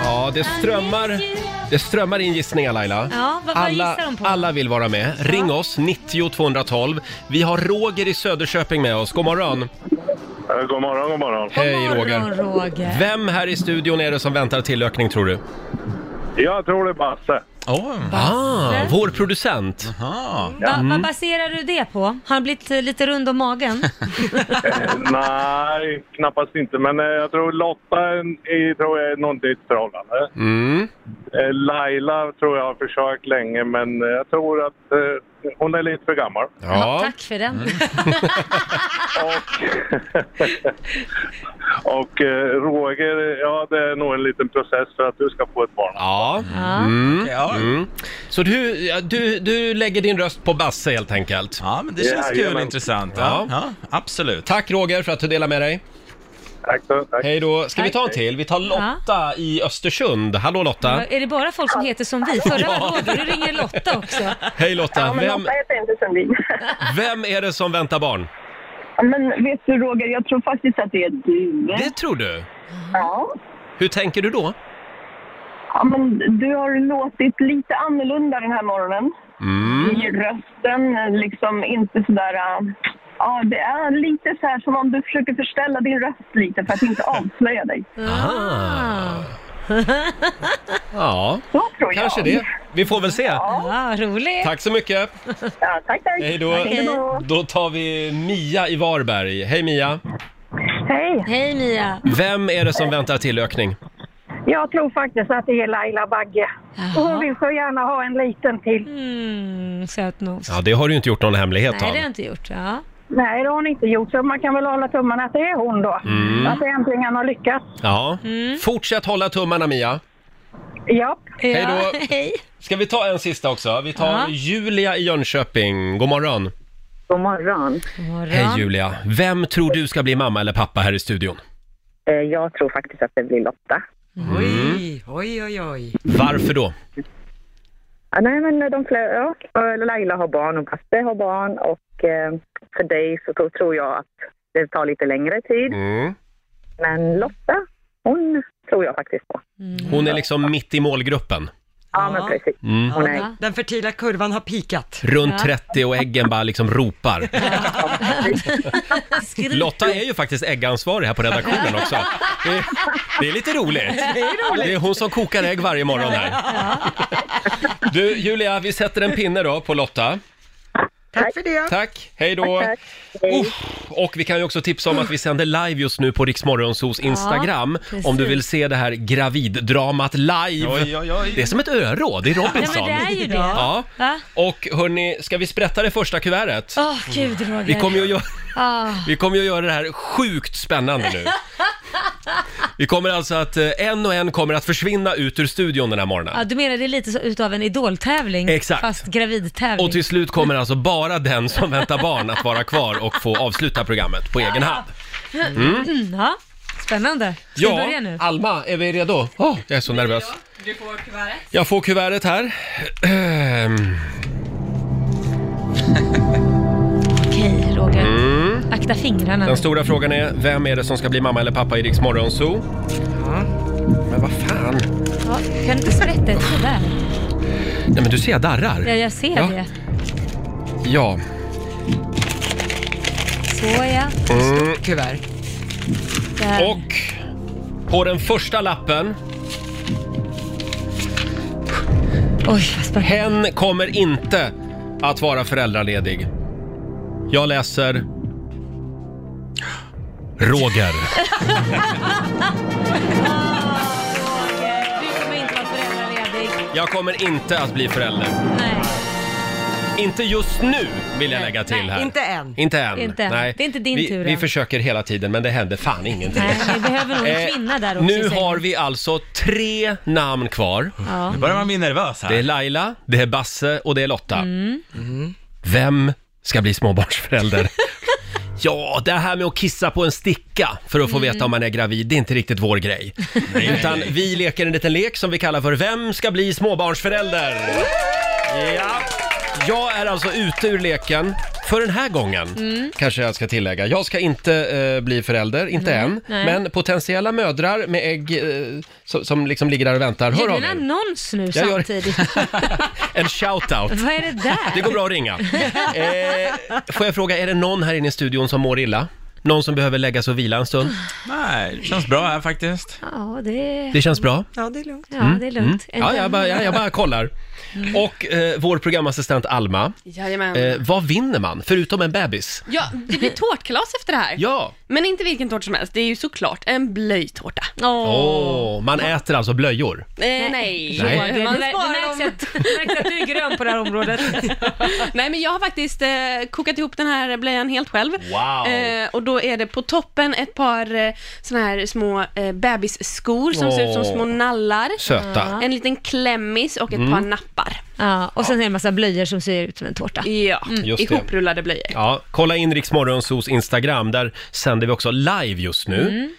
[SPEAKER 1] Ja, det strömmar, det strömmar in gissningar Laila.
[SPEAKER 2] Ja, vad- vad
[SPEAKER 1] alla,
[SPEAKER 2] gissar de på?
[SPEAKER 1] alla vill vara med. Ring oss, 90 212. Vi har Roger i Söderköping med oss. God morgon!
[SPEAKER 11] Eh, God morgon, god morgon.
[SPEAKER 1] Hej
[SPEAKER 2] Morgon,
[SPEAKER 1] Roger!
[SPEAKER 2] Roger.
[SPEAKER 1] Vem här i studion är det som väntar tillökning tror du?
[SPEAKER 11] Jag tror det är Basse.
[SPEAKER 6] Åh,
[SPEAKER 1] Ah, vår producent!
[SPEAKER 6] aha.
[SPEAKER 2] Va,
[SPEAKER 1] Mm.
[SPEAKER 2] Vad baserar du det på? Har han blivit eh, lite rund
[SPEAKER 1] [laughs]
[SPEAKER 2] om magen?
[SPEAKER 11] Nej, knappast inte. Men eh, jag tror Lotta är, är- tror jag är något nytt förhållande.
[SPEAKER 1] Mm.
[SPEAKER 11] Eh, Laila tror jag har försökt länge, men eh, jag tror att eh, hon är lite för gammal.
[SPEAKER 1] Ja.
[SPEAKER 2] Tack för den.
[SPEAKER 1] Mm.
[SPEAKER 11] [laughs] Och eh, Roger, ja det är nog en liten process för att du ska få ett barn.
[SPEAKER 1] Ja.
[SPEAKER 2] Ja.
[SPEAKER 1] Mm.
[SPEAKER 6] Ja.
[SPEAKER 1] Mm. Så du, ja, du, du lägger din röst på Basse helt enkelt.
[SPEAKER 6] ja, men det känns kul och
[SPEAKER 11] Jajamän.
[SPEAKER 6] intressant.
[SPEAKER 1] Ja.
[SPEAKER 6] Ja, ja absolut.
[SPEAKER 1] Tack Roger för att du delar med dig.
[SPEAKER 11] Tack så tack.
[SPEAKER 1] Hej då. Ska vi ta en till? Vi tar Lotta i Östersund. Hallå Lotta!
[SPEAKER 2] Är det bara folk som heter som vi? Förra var Roger, nu ringer Lotta också.
[SPEAKER 1] Hej Lotta! Vem,
[SPEAKER 10] heter inte
[SPEAKER 9] [laughs]
[SPEAKER 10] Sundin.
[SPEAKER 1] vem är det som väntar barn?
[SPEAKER 10] Men vet du Roger, jag tror faktiskt att det är du.
[SPEAKER 1] Det tror du?
[SPEAKER 10] Ja.
[SPEAKER 1] Hur tänker du då?
[SPEAKER 9] Ja, men du har låtit lite annorlunda den här morgonen.
[SPEAKER 1] Mm.
[SPEAKER 9] I rösten, liksom inte sådär... äh, Ja, det är lite så här som om du försöker förställa din röst lite för
[SPEAKER 1] [laughs]
[SPEAKER 9] att inte avslöja dig.
[SPEAKER 1] Ah. Ja,
[SPEAKER 9] jag.
[SPEAKER 1] kanske det. Vi får väl se.
[SPEAKER 2] Ja, roligt.
[SPEAKER 1] Tack så mycket.
[SPEAKER 9] Ja, tack, tack.
[SPEAKER 1] Hej då. Då tar vi Mia i Varberg. Hej Mia.
[SPEAKER 12] Hej!
[SPEAKER 2] Hej Mia!
[SPEAKER 1] Vem är det som väntar tillökning?
[SPEAKER 12] Jag tror faktiskt att det är Laila Bagge. Och hon vill så gärna ha en liten till.
[SPEAKER 2] Mm, sötnos.
[SPEAKER 1] Ja, det har du ju inte gjort någon hemlighet
[SPEAKER 2] Nej,
[SPEAKER 1] av.
[SPEAKER 2] det har jag inte gjort. Ja.
[SPEAKER 12] Nej, det har hon inte gjort, så man kan väl hålla tummarna att det är hon då.
[SPEAKER 1] Mm.
[SPEAKER 12] Att det äntligen har lyckats.
[SPEAKER 1] Ja.
[SPEAKER 2] Mm.
[SPEAKER 1] Fortsätt hålla tummarna Mia.
[SPEAKER 12] Japp.
[SPEAKER 1] Hej då.
[SPEAKER 2] Hej.
[SPEAKER 1] Ska vi ta en sista också? Vi tar
[SPEAKER 13] Ja.
[SPEAKER 1] Julia i Jönköping. God morgon.
[SPEAKER 13] God morgon.
[SPEAKER 1] Hej Julia. Vem tror du ska bli mamma eller pappa här i studion?
[SPEAKER 13] Eh, Jag tror faktiskt att det blir Lotta.
[SPEAKER 1] Mm.
[SPEAKER 3] Oj, oj, oj.
[SPEAKER 1] Varför då?
[SPEAKER 13] Ah, nej, men de flera, ja, eh, Laila har barn och Basse har barn och eh, för dig så tro- tror jag att det tar lite längre tid.
[SPEAKER 1] Mm.
[SPEAKER 13] Men Lotta, hon tror jag faktiskt på.
[SPEAKER 1] Hon är liksom mitt i målgruppen.
[SPEAKER 13] Ja, men precis.
[SPEAKER 1] Mm.
[SPEAKER 13] Hon är
[SPEAKER 3] Den fertila kurvan har pikat.
[SPEAKER 1] Runt 30 och äggen bara liksom ropar. Lotta är ju faktiskt äggansvarig här på redaktionen också. Det är, det är lite roligt.
[SPEAKER 3] Det är roligt.
[SPEAKER 1] Det är hon som kokar ägg varje morgon här. Du, Julia, vi sätter en pinne då på Lotta.
[SPEAKER 3] Tack för det.
[SPEAKER 1] Tack, hej då.
[SPEAKER 3] Tack,
[SPEAKER 1] Uff, och vi kan ju också tipsa om att vi sänder live just nu på Riksmorgonsos Instagram.
[SPEAKER 2] precis.
[SPEAKER 1] om du vill se det här graviddramat live.
[SPEAKER 6] Oj, oj, oj.
[SPEAKER 1] Det är som ett öråd, det är Robinson.
[SPEAKER 2] Ja, men det är ju det.
[SPEAKER 1] Ja.
[SPEAKER 2] Va?
[SPEAKER 1] Och hörni, ska vi sprätta det första kuvertet?
[SPEAKER 2] Åh, gud Roger.
[SPEAKER 1] Vi kommer ju att göra,
[SPEAKER 2] Ah.
[SPEAKER 1] vi kommer ju att göra det här sjukt spännande nu. Vi kommer alltså att, eh, en och en kommer att försvinna ut ur studion den här morgonen.
[SPEAKER 2] Ja, du menar det är lite så utav en idoltävling,
[SPEAKER 1] Exakt.
[SPEAKER 2] fast gravidtävling.
[SPEAKER 1] Och till slut kommer alltså bara den som väntar barn att vara kvar och få avsluta programmet på egen hand. Mm.
[SPEAKER 2] Mm, ja, spännande. Ska vi
[SPEAKER 1] Ja,
[SPEAKER 2] börja nu?
[SPEAKER 1] Alma, är vi redo? Åh, jag är så nervös.
[SPEAKER 8] Du får kuvertet.
[SPEAKER 1] Jag får kuvertet här. [clears throat] Ehm,
[SPEAKER 2] Okej Roger,
[SPEAKER 1] Mm.
[SPEAKER 2] akta fingrarna.
[SPEAKER 1] Den stora frågan är, vem är det som ska bli mamma eller pappa i Rix Morgonzoo? Men vad fan?
[SPEAKER 2] Ja, kan du inte sprätta ett sådär?
[SPEAKER 1] Nej men du ser, jag
[SPEAKER 2] Ja,
[SPEAKER 1] darrar.
[SPEAKER 2] jag ser
[SPEAKER 1] Ja.
[SPEAKER 2] det.
[SPEAKER 1] Ja.
[SPEAKER 2] Såja,
[SPEAKER 1] Mm.
[SPEAKER 3] Kuvert.
[SPEAKER 2] där.
[SPEAKER 1] Och på den första lappen Hen kommer inte att vara föräldraledig. Jag läser Roger.
[SPEAKER 2] Du kommer inte vara föräldraledig.
[SPEAKER 1] Jag kommer inte att bli förälder.
[SPEAKER 2] Nej.
[SPEAKER 1] Inte just nu vill jag lägga till här.
[SPEAKER 3] Inte än.
[SPEAKER 1] Inte än.
[SPEAKER 2] Inte än.
[SPEAKER 1] Nej.
[SPEAKER 2] Det är inte din
[SPEAKER 1] vi,
[SPEAKER 2] tur
[SPEAKER 1] Vi
[SPEAKER 2] än.
[SPEAKER 1] försöker hela tiden men det händer fan ingenting.
[SPEAKER 2] Nej, vi behöver nog en
[SPEAKER 1] [laughs] Eh,
[SPEAKER 2] kvinna där också.
[SPEAKER 1] Nu
[SPEAKER 2] säger
[SPEAKER 1] har
[SPEAKER 2] jag.
[SPEAKER 1] vi alltså tre namn kvar.
[SPEAKER 2] Ja. Nu
[SPEAKER 1] börjar man bli nervös här. Det är Laila, det är Basse och det är Lotta.
[SPEAKER 2] Mm.
[SPEAKER 1] Vem ska bli
[SPEAKER 2] [laughs]
[SPEAKER 1] småbarnsförälder? Ja, det här med att kissa på en sticka för att få
[SPEAKER 2] Mm.
[SPEAKER 1] veta om man är gravid, det är inte riktigt vår grej. Utan vi leker en liten lek som vi kallar för Vem ska bli småbarnsförälder? Ja. Jag är alltså ute ur leken för den här gången,
[SPEAKER 2] Mm.
[SPEAKER 1] kanske jag ska tillägga. Jag ska inte eh, bli förälder, inte
[SPEAKER 2] Nej,
[SPEAKER 1] än.
[SPEAKER 2] Mm. nej.
[SPEAKER 1] Men potentiella mödrar med ägg eh, som, som liksom ligger där och väntar, hör
[SPEAKER 2] Gör du
[SPEAKER 1] av
[SPEAKER 2] en
[SPEAKER 1] er.
[SPEAKER 2] annons nu
[SPEAKER 1] Jag gör- [laughs]
[SPEAKER 2] samtidigt?
[SPEAKER 1] En shout-out.
[SPEAKER 2] Vad är det där?
[SPEAKER 1] Det går bra att ringa. Eh, får jag fråga, är det någon här inne i studion som mår illa? Någon som behöver lägga sig och vila en stund?
[SPEAKER 6] Nej, det känns bra här faktiskt.
[SPEAKER 2] Ja, det...
[SPEAKER 1] Det känns bra?
[SPEAKER 3] Ja, det är lugnt.
[SPEAKER 2] Ja, det är lugnt.
[SPEAKER 1] Mm. Ja, jag bara, jag, jag bara kollar.
[SPEAKER 2] Mm.
[SPEAKER 1] Och eh, vår programassistent Alma,
[SPEAKER 8] Jajamän.
[SPEAKER 1] eh, vad vinner man förutom en bebis?
[SPEAKER 8] Ja, det blir tårtkalas efter det här.
[SPEAKER 1] Ja!
[SPEAKER 8] Men inte vilken tårta som helst, det är ju såklart en blöjtårta.
[SPEAKER 1] Åh, man äter alltså blöjor.
[SPEAKER 8] Eh, nej,
[SPEAKER 1] Nej.
[SPEAKER 8] Roger,
[SPEAKER 2] Det
[SPEAKER 8] man
[SPEAKER 2] mär-
[SPEAKER 8] sparar
[SPEAKER 2] det
[SPEAKER 8] dem.
[SPEAKER 2] märks att- [laughs] det märks att du är grön på det här området.
[SPEAKER 8] Nej men jag har faktiskt eh, kokat ihop den här blöjan helt själv.
[SPEAKER 2] Wow.
[SPEAKER 8] Eh, och då är det på toppen ett par eh, såna här små eh, bebisskor som ser ut som
[SPEAKER 2] Åh.
[SPEAKER 8] små nallar.
[SPEAKER 2] Söta.
[SPEAKER 8] En liten klämmis och ett
[SPEAKER 1] Mm.
[SPEAKER 8] par nappar.
[SPEAKER 2] Ja, och sen är det en massa blöjor som ser ut som en tårta.
[SPEAKER 8] Ja,
[SPEAKER 1] Just det.
[SPEAKER 8] Mm. ihoprullade blöjor.
[SPEAKER 1] Ja, kolla in Rix Morgonzos Instagram, där sänder vi också live just nu.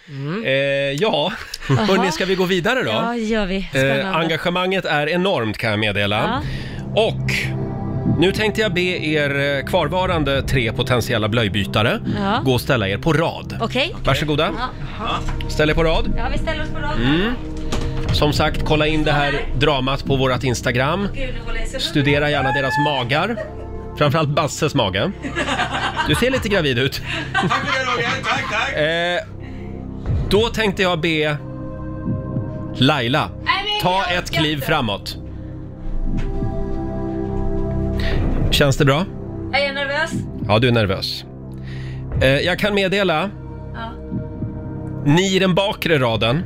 [SPEAKER 1] Eh, ja,
[SPEAKER 2] Mm. Jaha.
[SPEAKER 1] hörni, ska vi gå vidare då?
[SPEAKER 2] Ja, gör vi. Spännande.
[SPEAKER 1] Eh, engagemanget är enormt kan jag meddela. Och nu tänkte jag be er eh, kvarvarande tre potentiella blöjbytare
[SPEAKER 2] Ja.
[SPEAKER 1] gå och ställa er på rad.
[SPEAKER 2] Okej.
[SPEAKER 1] Varsågoda.
[SPEAKER 2] Ja.
[SPEAKER 1] Ställ er på rad.
[SPEAKER 2] ja, vi ställer oss på rad.
[SPEAKER 1] Mm. Som sagt, kolla in det här dramat på vårt Instagram. Studera gärna deras magar. Framförallt Basses mage. Du ser lite gravid ut. Eh, då tänkte jag be Laila, ta ett kliv framåt. Känns det bra?
[SPEAKER 2] Är jag nervös?
[SPEAKER 1] Ja, du är nervös. Eh, jag kan meddela.
[SPEAKER 2] Ja.
[SPEAKER 1] Ni i den bakre raden,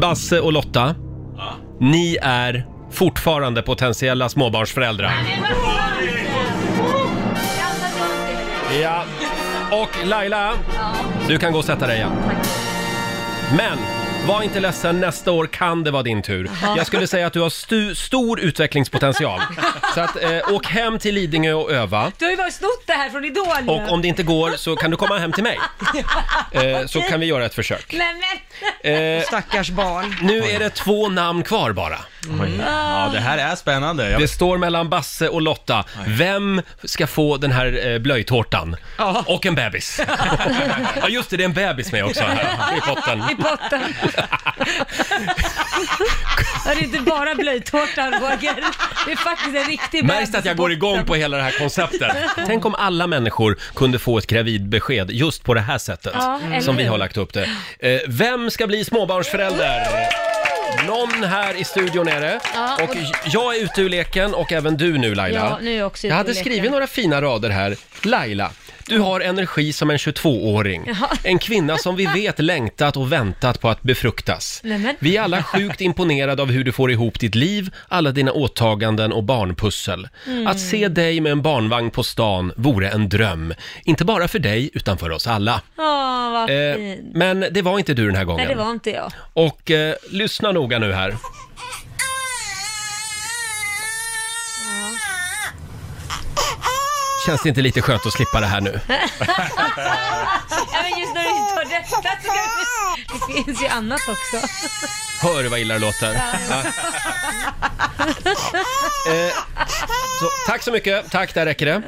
[SPEAKER 1] Basse och Lotta, ni är fortfarande potentiella småbarnsföräldrar. Ja, och Laila, du kan gå och sätta dig igen. Men var inte ledsen, nästa år kan det vara din tur.
[SPEAKER 14] Jaha.
[SPEAKER 1] Jag skulle säga att du har stu- stor utvecklingspotential. Så att, eh, åk hem till Lidingö och öva.
[SPEAKER 2] Du har ju varit snott det här från Idol ju.
[SPEAKER 1] Och om det inte går så kan du komma hem till mig. Eh, så kan vi göra ett försök.
[SPEAKER 2] Nej men!
[SPEAKER 1] Eh,
[SPEAKER 3] Stackars barn.
[SPEAKER 1] Nu är det två namn kvar bara.
[SPEAKER 6] Mm. Ja, det här är spännande. Jag...
[SPEAKER 1] Det står mellan Basse och Lotta. Vem ska få den här eh, blöjtårtan? Och en bebis. [laughs] ja, just det, det är en bebis med också här i potten.
[SPEAKER 2] I potten. det är inte bara blöjtårtan Roger. Det är faktiskt en riktig
[SPEAKER 1] Märks
[SPEAKER 2] bebis
[SPEAKER 1] det att jag
[SPEAKER 2] i
[SPEAKER 1] går
[SPEAKER 2] potten.
[SPEAKER 1] igång på hela det här konceptet? Tänk om alla människor kunde få ett gravidbesked just på det här sättet
[SPEAKER 14] Ja, eller
[SPEAKER 1] som vi
[SPEAKER 14] hur?
[SPEAKER 1] har lagt upp det. Eh, Vem ska bli småbarnsförälder? Någon här i studion är det.
[SPEAKER 14] Ja, och-
[SPEAKER 1] Och jag är ute ur leken och även du nu Laila.
[SPEAKER 14] Ja, nu är jag också ute
[SPEAKER 1] Jag
[SPEAKER 14] ur
[SPEAKER 1] hade
[SPEAKER 14] leken.
[SPEAKER 1] skrivit några fina rader här. Laila, du har energi som en 22-åring.
[SPEAKER 14] Jaha.
[SPEAKER 1] En kvinna som vi vet längtat och väntat på att befruktas.
[SPEAKER 14] Nämen.
[SPEAKER 1] Vi är alla sjukt imponerade av hur du får ihop ditt liv, alla dina åtaganden och barnpussel.
[SPEAKER 14] Mm.
[SPEAKER 1] Att se dig med en barnvagn på stan vore en dröm. Inte bara för dig, utan för oss alla.
[SPEAKER 2] Åh, vad
[SPEAKER 1] Eh,
[SPEAKER 2] fint.
[SPEAKER 1] men det var inte du den här gången.
[SPEAKER 2] Nej, det var inte jag.
[SPEAKER 1] Och eh, lyssna noga nu här. Känns det inte lite skönt att slippa det här nu?
[SPEAKER 2] Nej, men just när du tar detta så kan du... Det finns ju annat också.
[SPEAKER 1] Hör vad illa det låter. Ja. Eh, så, tack så mycket. Tack, där räcker det.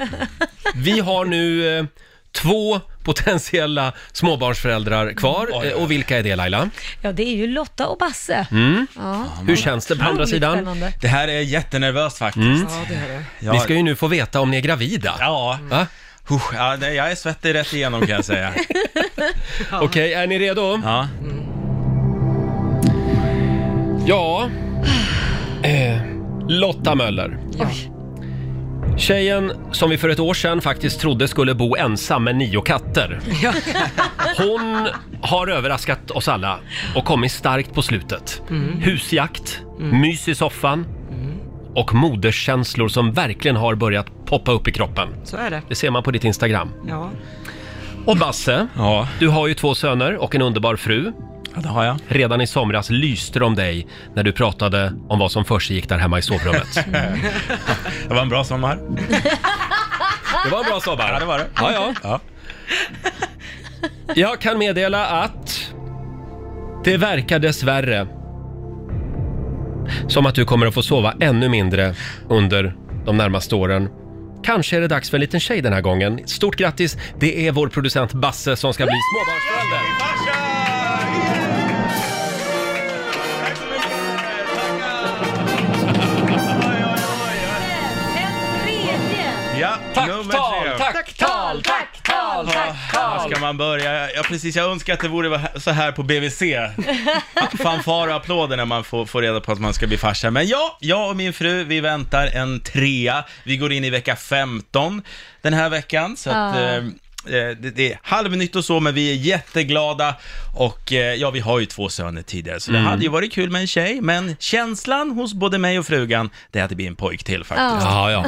[SPEAKER 1] Vi har nu eh, två potentiella småbarnsföräldrar kvar. Eh, och vilka är det Laila?
[SPEAKER 2] Ja, det är ju Lotta och Basse.
[SPEAKER 1] Mm.
[SPEAKER 2] Ja.
[SPEAKER 1] Hur känns det på andra
[SPEAKER 2] Otroligt
[SPEAKER 1] sidan?
[SPEAKER 2] spännande.
[SPEAKER 1] Det här är jättenervöst faktiskt. Mm.
[SPEAKER 3] Ja, det är det.
[SPEAKER 1] Vi ska ju nu få veta om ni är gravida.
[SPEAKER 6] Ja.
[SPEAKER 1] Va?
[SPEAKER 6] Usch, ja, nej, jag är svettig rätt igenom kan
[SPEAKER 1] [laughs]
[SPEAKER 6] jag säga.
[SPEAKER 1] Okej, är ni redo?
[SPEAKER 6] Ja.
[SPEAKER 1] Ja, eh, Lotta Möller. Tjejen som vi för ett år sedan faktiskt trodde skulle bo ensam med nio katter. Hon har överraskat oss alla och kommit starkt på slutet.
[SPEAKER 14] Mm.
[SPEAKER 1] Husjakt, mys i soffan och moderskänslor som verkligen har börjat poppa upp i kroppen.
[SPEAKER 3] Så är det.
[SPEAKER 1] Det ser man på ditt Instagram.
[SPEAKER 3] Ja.
[SPEAKER 1] Och Basse, du har ju två söner och en underbar fru.
[SPEAKER 6] Ja, det har jag.
[SPEAKER 1] Redan i somras lyste de dig när du pratade om vad som försiggick där hemma i sovrummet.
[SPEAKER 6] det var en bra sommar.
[SPEAKER 1] [laughs] Det var en bra sommar.
[SPEAKER 6] Ja, det var det.
[SPEAKER 1] Ja, ja. Jag kan meddela att det verkar dessvärre som att du kommer att få sova ännu mindre under de närmaste åren. Kanske är det dags för en liten tjej den här gången. Stort grattis! Det är vår producent Basse som ska bli småbarnsförälder.
[SPEAKER 6] Ja, nummer tre.
[SPEAKER 14] tal, tack, tal, tack,
[SPEAKER 6] Var ska man börja? Ja, precis. Jag önskar att det vore så här på BVC.
[SPEAKER 14] [laughs]
[SPEAKER 6] Fanfar och applåder när man får, får reda på att man ska bli farsa. Men ja, jag och min fru, vi väntar en trea. Vi går in i vecka 15 den här veckan. Så att,
[SPEAKER 14] Ah.
[SPEAKER 6] eh, eh, det, det är halvnytt och så, men vi är jätteglada. Och eh, ja, vi har ju två söner tidigare, så det
[SPEAKER 14] Mm.
[SPEAKER 6] hade ju varit kul med en tjej. Men känslan hos både mig och frugan, det är att det blir en pojk till faktiskt.
[SPEAKER 14] Ja.
[SPEAKER 1] ja.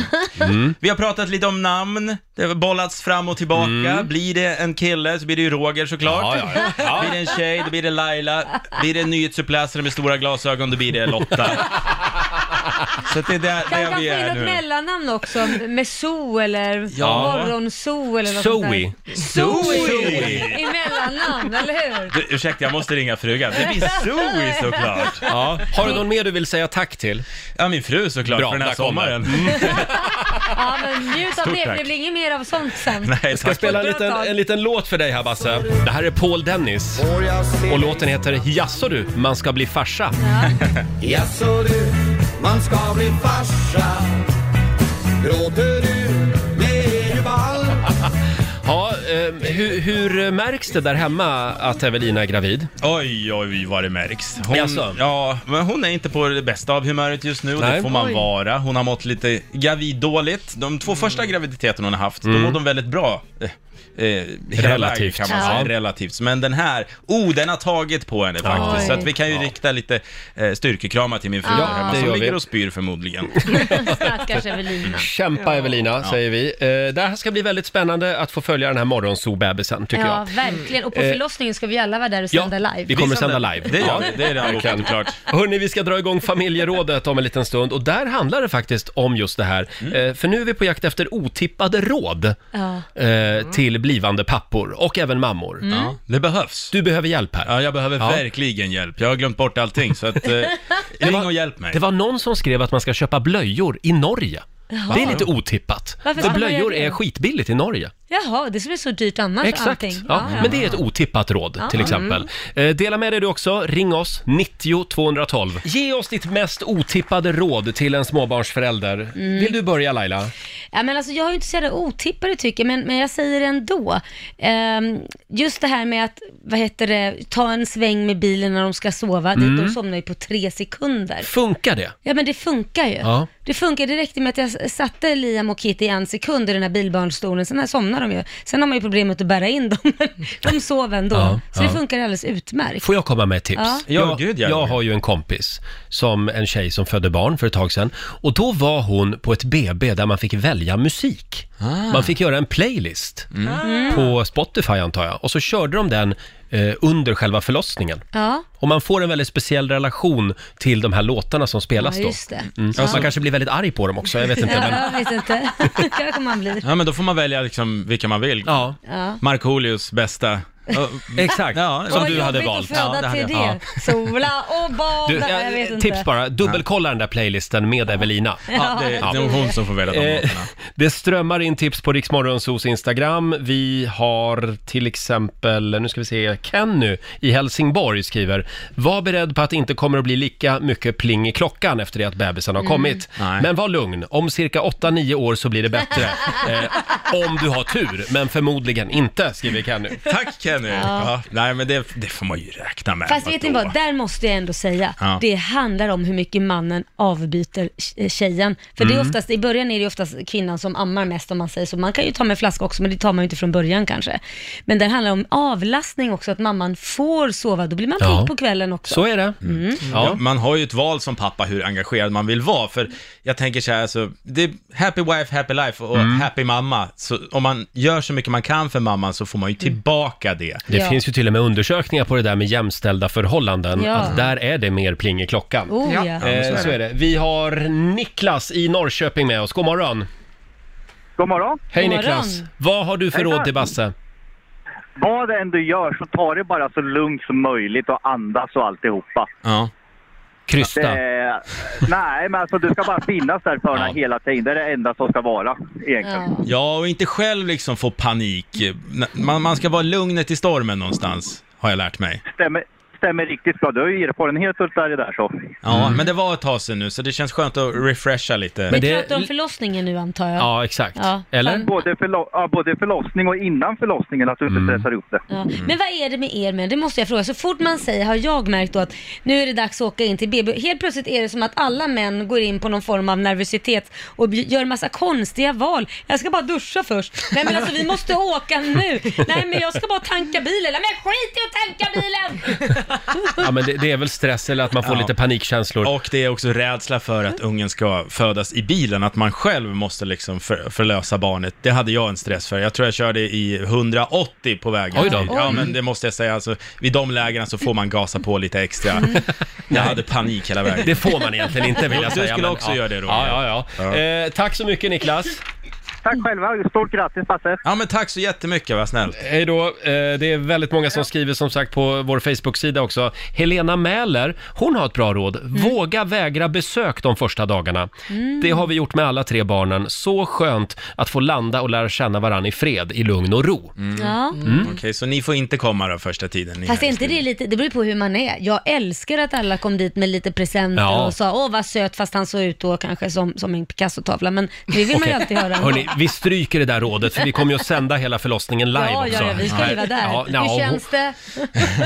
[SPEAKER 6] Vi har pratat lite om namn, det har bollats fram och tillbaka.
[SPEAKER 1] Mm.
[SPEAKER 6] Blir det en kille så blir det ju Roger såklart.
[SPEAKER 14] Ja, ja, ja.
[SPEAKER 6] [laughs]
[SPEAKER 14] Ja.
[SPEAKER 6] Blir det en tjej, då
[SPEAKER 1] [laughs]
[SPEAKER 6] blir det Laila. Blir det en nyhetsuppläsare med stora glasögon, då blir det Lotta. Så att det är där,
[SPEAKER 2] Kan
[SPEAKER 6] där
[SPEAKER 2] man
[SPEAKER 6] vi
[SPEAKER 2] få in
[SPEAKER 6] är
[SPEAKER 2] något
[SPEAKER 6] nu.
[SPEAKER 2] mellannamn också? Med Zoo eller
[SPEAKER 6] Ja.
[SPEAKER 2] Morgonzoo eller något sånt
[SPEAKER 6] Zoe.
[SPEAKER 2] där. Zoe!
[SPEAKER 6] Zoe.
[SPEAKER 2] I mellannamn, eller hur?
[SPEAKER 6] Du, ursäkta, jag måste ringa frugan. Det blir Zoe såklart.
[SPEAKER 1] [laughs] Ja. Har du någon mer du vill säga tack till?
[SPEAKER 6] Ja, min fru såklart
[SPEAKER 1] Bra,
[SPEAKER 6] för den här
[SPEAKER 1] där kommer. Mm.
[SPEAKER 6] sommaren. [laughs]
[SPEAKER 2] Ja, men njut av
[SPEAKER 1] Stort
[SPEAKER 2] det, för
[SPEAKER 1] tack.
[SPEAKER 2] det blir inget mer av sånt sen.
[SPEAKER 1] Jag ska spela en liten, en liten låt för dig här Basse. Det här är Paul Dennis. Och låten heter Jaså du, man ska bli farsa.
[SPEAKER 14] Jaså du, man ska bli farsa Gråter du, det är ju ball
[SPEAKER 1] Ja, eh, hur, hur märks det där hemma att Evelina är gravid?
[SPEAKER 6] Oj, oj, vad det märks. Hon,
[SPEAKER 1] Jaså?
[SPEAKER 6] ja, men hon är inte på det bästa av humöret just nu och
[SPEAKER 1] alltså- Nej.
[SPEAKER 6] det får man
[SPEAKER 1] Oj.
[SPEAKER 6] vara. Hon har mått lite graviddåligt. De två första graviditeterna hon har haft, då
[SPEAKER 1] Mm.
[SPEAKER 6] mådde hon väldigt bra. Eh, Eh, hela
[SPEAKER 1] Relativt.
[SPEAKER 6] vägen Kan man säga.
[SPEAKER 1] Ja.
[SPEAKER 6] Relativt. Men den här, oh, den har tagit på henne faktiskt.
[SPEAKER 1] Oj.
[SPEAKER 6] Så att vi kan ju rikta lite eh, styrkekramar till min fru
[SPEAKER 2] Ja,
[SPEAKER 6] där hemma,
[SPEAKER 1] det
[SPEAKER 6] som
[SPEAKER 1] gör vi.
[SPEAKER 6] ligger och spyr förmodligen.
[SPEAKER 2] Stackars Evelina.
[SPEAKER 1] Kämpa Evelina,
[SPEAKER 6] Ja.
[SPEAKER 1] säger vi. Eh, det här ska bli väldigt spännande att få följa den här morgonsobebisen, [laughs] tycker
[SPEAKER 2] ja,
[SPEAKER 1] jag.
[SPEAKER 2] verkligen. Och på
[SPEAKER 1] Eh,
[SPEAKER 2] förlossningen ska vi alla vara där och
[SPEAKER 1] Ja,
[SPEAKER 2] sända live.
[SPEAKER 1] vi kommer sända live.
[SPEAKER 6] Det gör vi. Det är redan bokat
[SPEAKER 1] verkligen.
[SPEAKER 6] och klart.
[SPEAKER 1] Hörni, vi ska dra igång familjerådet om en liten stund och där handlar det faktiskt om just det här. Eh, För nu är vi på jakt efter otippade råd
[SPEAKER 2] Ja.
[SPEAKER 1] eh, till blivande pappor och även mammor.
[SPEAKER 2] Mm. Ja,
[SPEAKER 6] det behövs.
[SPEAKER 1] Du behöver hjälp här.
[SPEAKER 6] Ja, jag behöver
[SPEAKER 1] Ja.
[SPEAKER 6] verkligen hjälp. Jag har glömt bort allting,
[SPEAKER 1] [laughs]
[SPEAKER 6] så att, eh, ring och hjälp mig.
[SPEAKER 1] Det var någon som skrev att man ska köpa blöjor i Norge.
[SPEAKER 2] Jaha.
[SPEAKER 1] Det är lite otippat.
[SPEAKER 2] Varför
[SPEAKER 1] För
[SPEAKER 2] ska man
[SPEAKER 1] blöjor
[SPEAKER 2] göra det?
[SPEAKER 1] är skitbilligt i Norge.
[SPEAKER 2] Jaha, det skulle bli så dyrt annars
[SPEAKER 1] Exakt,
[SPEAKER 2] Alltså allting.
[SPEAKER 1] ja. men det är ett otippat råd
[SPEAKER 2] Ja. Mm.
[SPEAKER 1] till exempel. Eh, dela med dig du också, ring oss, 90 212. Ge oss ditt mest otippade råd till en småbarnsförälder.
[SPEAKER 2] Mm.
[SPEAKER 1] Vill du börja Laila?
[SPEAKER 2] Ja, men alltså, jag har ju inte så jävla otippade tycker jag, men, men jag säger det ändå. Ehm, just det här med att, vad heter det, ta en sväng med bilen när de ska sova,
[SPEAKER 1] Mm.
[SPEAKER 2] det, de somnar ju på tre sekunder.
[SPEAKER 1] Funkar det?
[SPEAKER 2] Ja men det funkar ju.
[SPEAKER 1] Ja.
[SPEAKER 2] Det funkar, det räckte med att jag s- satte Liam och Kitty i en sekund i den här bilbarnstolen, sen här somnar de ju. Sen har man ju problemet att bära in dem, men de sover ändå.
[SPEAKER 1] Ja,
[SPEAKER 2] så det
[SPEAKER 1] ja.
[SPEAKER 2] funkar alldeles utmärkt.
[SPEAKER 1] Får jag komma med ett tips?
[SPEAKER 2] Ja.
[SPEAKER 1] Jag,
[SPEAKER 2] Ja, gud, ja.
[SPEAKER 1] jag har ju en kompis, som en tjej som födde barn för ett tag sedan. Och då var hon på ett BB där man fick välja musik.
[SPEAKER 2] Ah.
[SPEAKER 1] Man fick göra en playlist
[SPEAKER 2] Mm.
[SPEAKER 1] på Spotify antar jag. Och så körde de den eh, under själva förlossningen.
[SPEAKER 2] Ja.
[SPEAKER 1] Och man får en väldigt speciell relation till de här låtarna som spelas
[SPEAKER 2] Ja,
[SPEAKER 1] då.
[SPEAKER 2] just det.
[SPEAKER 1] Mm.
[SPEAKER 2] Ja.
[SPEAKER 1] Man kanske blir väldigt arg på dem också, jag vet inte.
[SPEAKER 2] ja,
[SPEAKER 1] Men...
[SPEAKER 2] Jag vet inte, [laughs] kanske man blir.
[SPEAKER 6] Ja, men då får man välja liksom vilka man vill.
[SPEAKER 1] Ja.
[SPEAKER 2] Ja.
[SPEAKER 6] Markoolios bästa.
[SPEAKER 1] Exakt,
[SPEAKER 6] Ja,
[SPEAKER 1] som
[SPEAKER 6] vad
[SPEAKER 1] du hade
[SPEAKER 6] jobbigt att
[SPEAKER 1] valt.
[SPEAKER 6] föda Ja, det hade
[SPEAKER 2] till
[SPEAKER 6] jag.
[SPEAKER 2] det. Sola och bada,
[SPEAKER 1] Du, eh,
[SPEAKER 2] jag vet inte.
[SPEAKER 1] tips bara, dubbelkolla den där playlisten med Evelina.
[SPEAKER 2] Ja, det är nog
[SPEAKER 6] hon som får välja de
[SPEAKER 1] Eh, [laughs]
[SPEAKER 6] låtarna.
[SPEAKER 1] Det strömmar in tips på Riksmorgonsos Instagram. Vi har till exempel, nu ska vi se, Kenny i Helsingborg skriver Var beredd på att det inte kommer att bli lika mycket pling i klockan efter det att bebisen har
[SPEAKER 6] Mm.
[SPEAKER 1] kommit.
[SPEAKER 6] Nej.
[SPEAKER 1] Men var lugn, om cirka 8-9 år så blir det
[SPEAKER 6] [laughs]
[SPEAKER 1] bättre. eh, om du har tur, men förmodligen inte, skriver Kenny.
[SPEAKER 6] Tack Kenny!
[SPEAKER 2] Ja.
[SPEAKER 6] Ja. Nej men det, det får man ju räkna med.
[SPEAKER 2] Fast vet ni
[SPEAKER 6] Vadå?
[SPEAKER 2] vad, där måste jag ändå säga,
[SPEAKER 6] Ja.
[SPEAKER 2] det handlar om hur mycket mannen avbyter tj- eh, tjejen. För det är
[SPEAKER 6] Mm.
[SPEAKER 2] oftast, i början är det oftast kvinnan som ammar mest om man säger så. Man kan ju ta med flaska också, men det tar man ju inte från början kanske. Men det handlar om avlastning också, att mamman får sova, då blir man
[SPEAKER 6] Ja.
[SPEAKER 2] pigg på kvällen också.
[SPEAKER 1] Så är det.
[SPEAKER 2] Mm.
[SPEAKER 6] Ja. Man har ju ett val som pappa hur engagerad man vill vara, för jag tänker så här, alltså, det är happy wife, happy life och
[SPEAKER 1] Mm.
[SPEAKER 6] happy mamma. Så om man gör så mycket man kan för mamman så får man ju tillbaka det.
[SPEAKER 1] Det finns ju till och med undersökningar på det där med jämställda förhållanden,
[SPEAKER 6] Ja.
[SPEAKER 1] att där är det mer pling i klockan.
[SPEAKER 6] Oh, ja. Ja, men så är
[SPEAKER 1] Eh,
[SPEAKER 6] det.
[SPEAKER 1] så är det. Vi har Niklas i Norrköping med oss, god morgon.
[SPEAKER 15] God morgon.
[SPEAKER 1] Hej Niklas! Vad har du för
[SPEAKER 15] Hejsan.
[SPEAKER 1] råd till Basse?
[SPEAKER 15] Vad det än du gör så ta det bara så lugnt som möjligt och andas och alltihopa.
[SPEAKER 1] Ja. Krysta.
[SPEAKER 15] Det, nej, men alltså du ska bara finnas där för henne hela tiden. Det är det enda som ska vara egentligen.
[SPEAKER 6] Ja, och inte själv liksom få panik. Man, man ska vara lugnet i stormen någonstans, har jag lärt mig.
[SPEAKER 15] Stämmer, stämmer riktigt bra. Du har ju erfarenhet av det där så.
[SPEAKER 6] Ja,
[SPEAKER 1] Mm.
[SPEAKER 6] men det var ett tag sedan nu, så det känns skönt att refresha lite.
[SPEAKER 2] Vi pratar om förlossningen nu antar jag.
[SPEAKER 1] exakt.
[SPEAKER 2] Ja. Eller?
[SPEAKER 15] Både, förlo- ja, både förlossning och innan förlossningen, att du inte stressar upp det.
[SPEAKER 2] Ja.
[SPEAKER 1] Mm.
[SPEAKER 2] Men vad är det med er män? Det måste jag fråga. Så fort man säger, har jag märkt då att nu är det dags att åka in till BB. Helt plötsligt är det som att alla män går in på någon form av nervositet och bj- gör massa konstiga val. Jag ska bara duscha först. Nej men alltså vi måste åka nu. Nej men jag ska bara tanka bilen. Nej men skit i att tanka bilen!
[SPEAKER 1] Ja, men det, det är väl stress eller att man får lite panikkänslor.
[SPEAKER 6] Och det är också rädsla för att ungen ska födas i bilen, att man själv måste liksom för, förlösa barnet. Det hade jag en stress för. Jag tror jag körde i 180 på vägen.
[SPEAKER 1] Oj då.
[SPEAKER 6] till- Ja,
[SPEAKER 1] Oj.
[SPEAKER 6] men det måste jag säga. Alltså, vid de lägena så får man gasa på lite extra. Jag hade panik hela vägen.
[SPEAKER 1] Mm. Det får man egentligen inte vill
[SPEAKER 6] Du
[SPEAKER 1] jag säga.
[SPEAKER 6] skulle
[SPEAKER 1] men,
[SPEAKER 6] också
[SPEAKER 1] ja.
[SPEAKER 6] göra det, Roger.
[SPEAKER 1] Ja, ja, ja. Eh, tack så mycket Niklas.
[SPEAKER 15] Tack själva, stort grattis Basse.
[SPEAKER 6] Ja men tack så jättemycket, vad snällt.
[SPEAKER 1] Hej då. Eh, Det är väldigt många som skriver som sagt på vår Facebook-sida också. Helena Mäler, hon har ett bra råd. Våga vägra besök de första dagarna.
[SPEAKER 2] Mm.
[SPEAKER 1] Det har vi gjort med alla tre barnen. Så skönt att få landa och lära känna varandra i fred, i lugn och ro.
[SPEAKER 2] Ja.
[SPEAKER 1] Mm.
[SPEAKER 6] Okej, så ni får inte komma då första tiden? ni
[SPEAKER 2] Fast är
[SPEAKER 6] här.
[SPEAKER 2] inte det lite, det beror på hur man är. Jag älskar att alla kom dit med lite presenter
[SPEAKER 1] Ja.
[SPEAKER 2] och sa åh vad söt, fast han såg ut då kanske som, som en Picasso-tavla, men det vill man
[SPEAKER 1] Okej.
[SPEAKER 2] ju alltid höra.
[SPEAKER 1] Hörni, vi stryker det där rådet för vi kommer ju att sända hela förlossningen live
[SPEAKER 2] ja,
[SPEAKER 1] också.
[SPEAKER 2] ja, ja, vi ska ju vara där.
[SPEAKER 1] Ja, ja,
[SPEAKER 2] hur
[SPEAKER 1] hon-
[SPEAKER 2] känns det?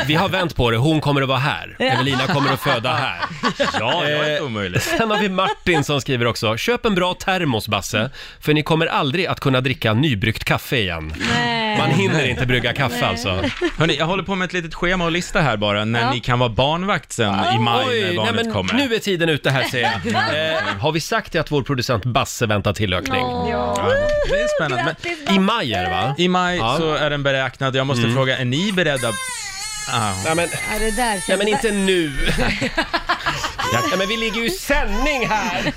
[SPEAKER 1] Vi har vänt på det, hon kommer att vara här.
[SPEAKER 2] Ja.
[SPEAKER 1] Evelina kommer att föda
[SPEAKER 2] [laughs]
[SPEAKER 1] här. Eh,
[SPEAKER 6] Ja, det var inte omöjligt.
[SPEAKER 1] Sen har vi Martin som skriver också, köp en bra termos Basse, för ni kommer aldrig att kunna dricka nybryggt kaffe igen.
[SPEAKER 2] Nej.
[SPEAKER 1] Man hinner inte brygga kaffe
[SPEAKER 2] Nej.
[SPEAKER 1] alltså.
[SPEAKER 6] [laughs] Hörni, jag håller på med ett litet schema och lista här bara, när
[SPEAKER 1] Ja.
[SPEAKER 6] ni kan vara barnvakt sen i maj
[SPEAKER 1] Oj,
[SPEAKER 6] när barnet
[SPEAKER 1] nej, men
[SPEAKER 6] kommer.
[SPEAKER 1] Nu är tiden ute här ser jag. Eh, har vi sagt det att vår producent Basse väntar tillökning?
[SPEAKER 6] Ja, det är spännande.
[SPEAKER 1] Men, I maj är det va?
[SPEAKER 6] I maj
[SPEAKER 1] Ja.
[SPEAKER 6] så är den beräknad, jag måste fråga, är ni beredda? Ah.
[SPEAKER 1] Nej, men,
[SPEAKER 2] Ja, det där känns
[SPEAKER 1] nej, men inte nu.
[SPEAKER 6] Jag-
[SPEAKER 1] Nej, men vi ligger ju i sändning här!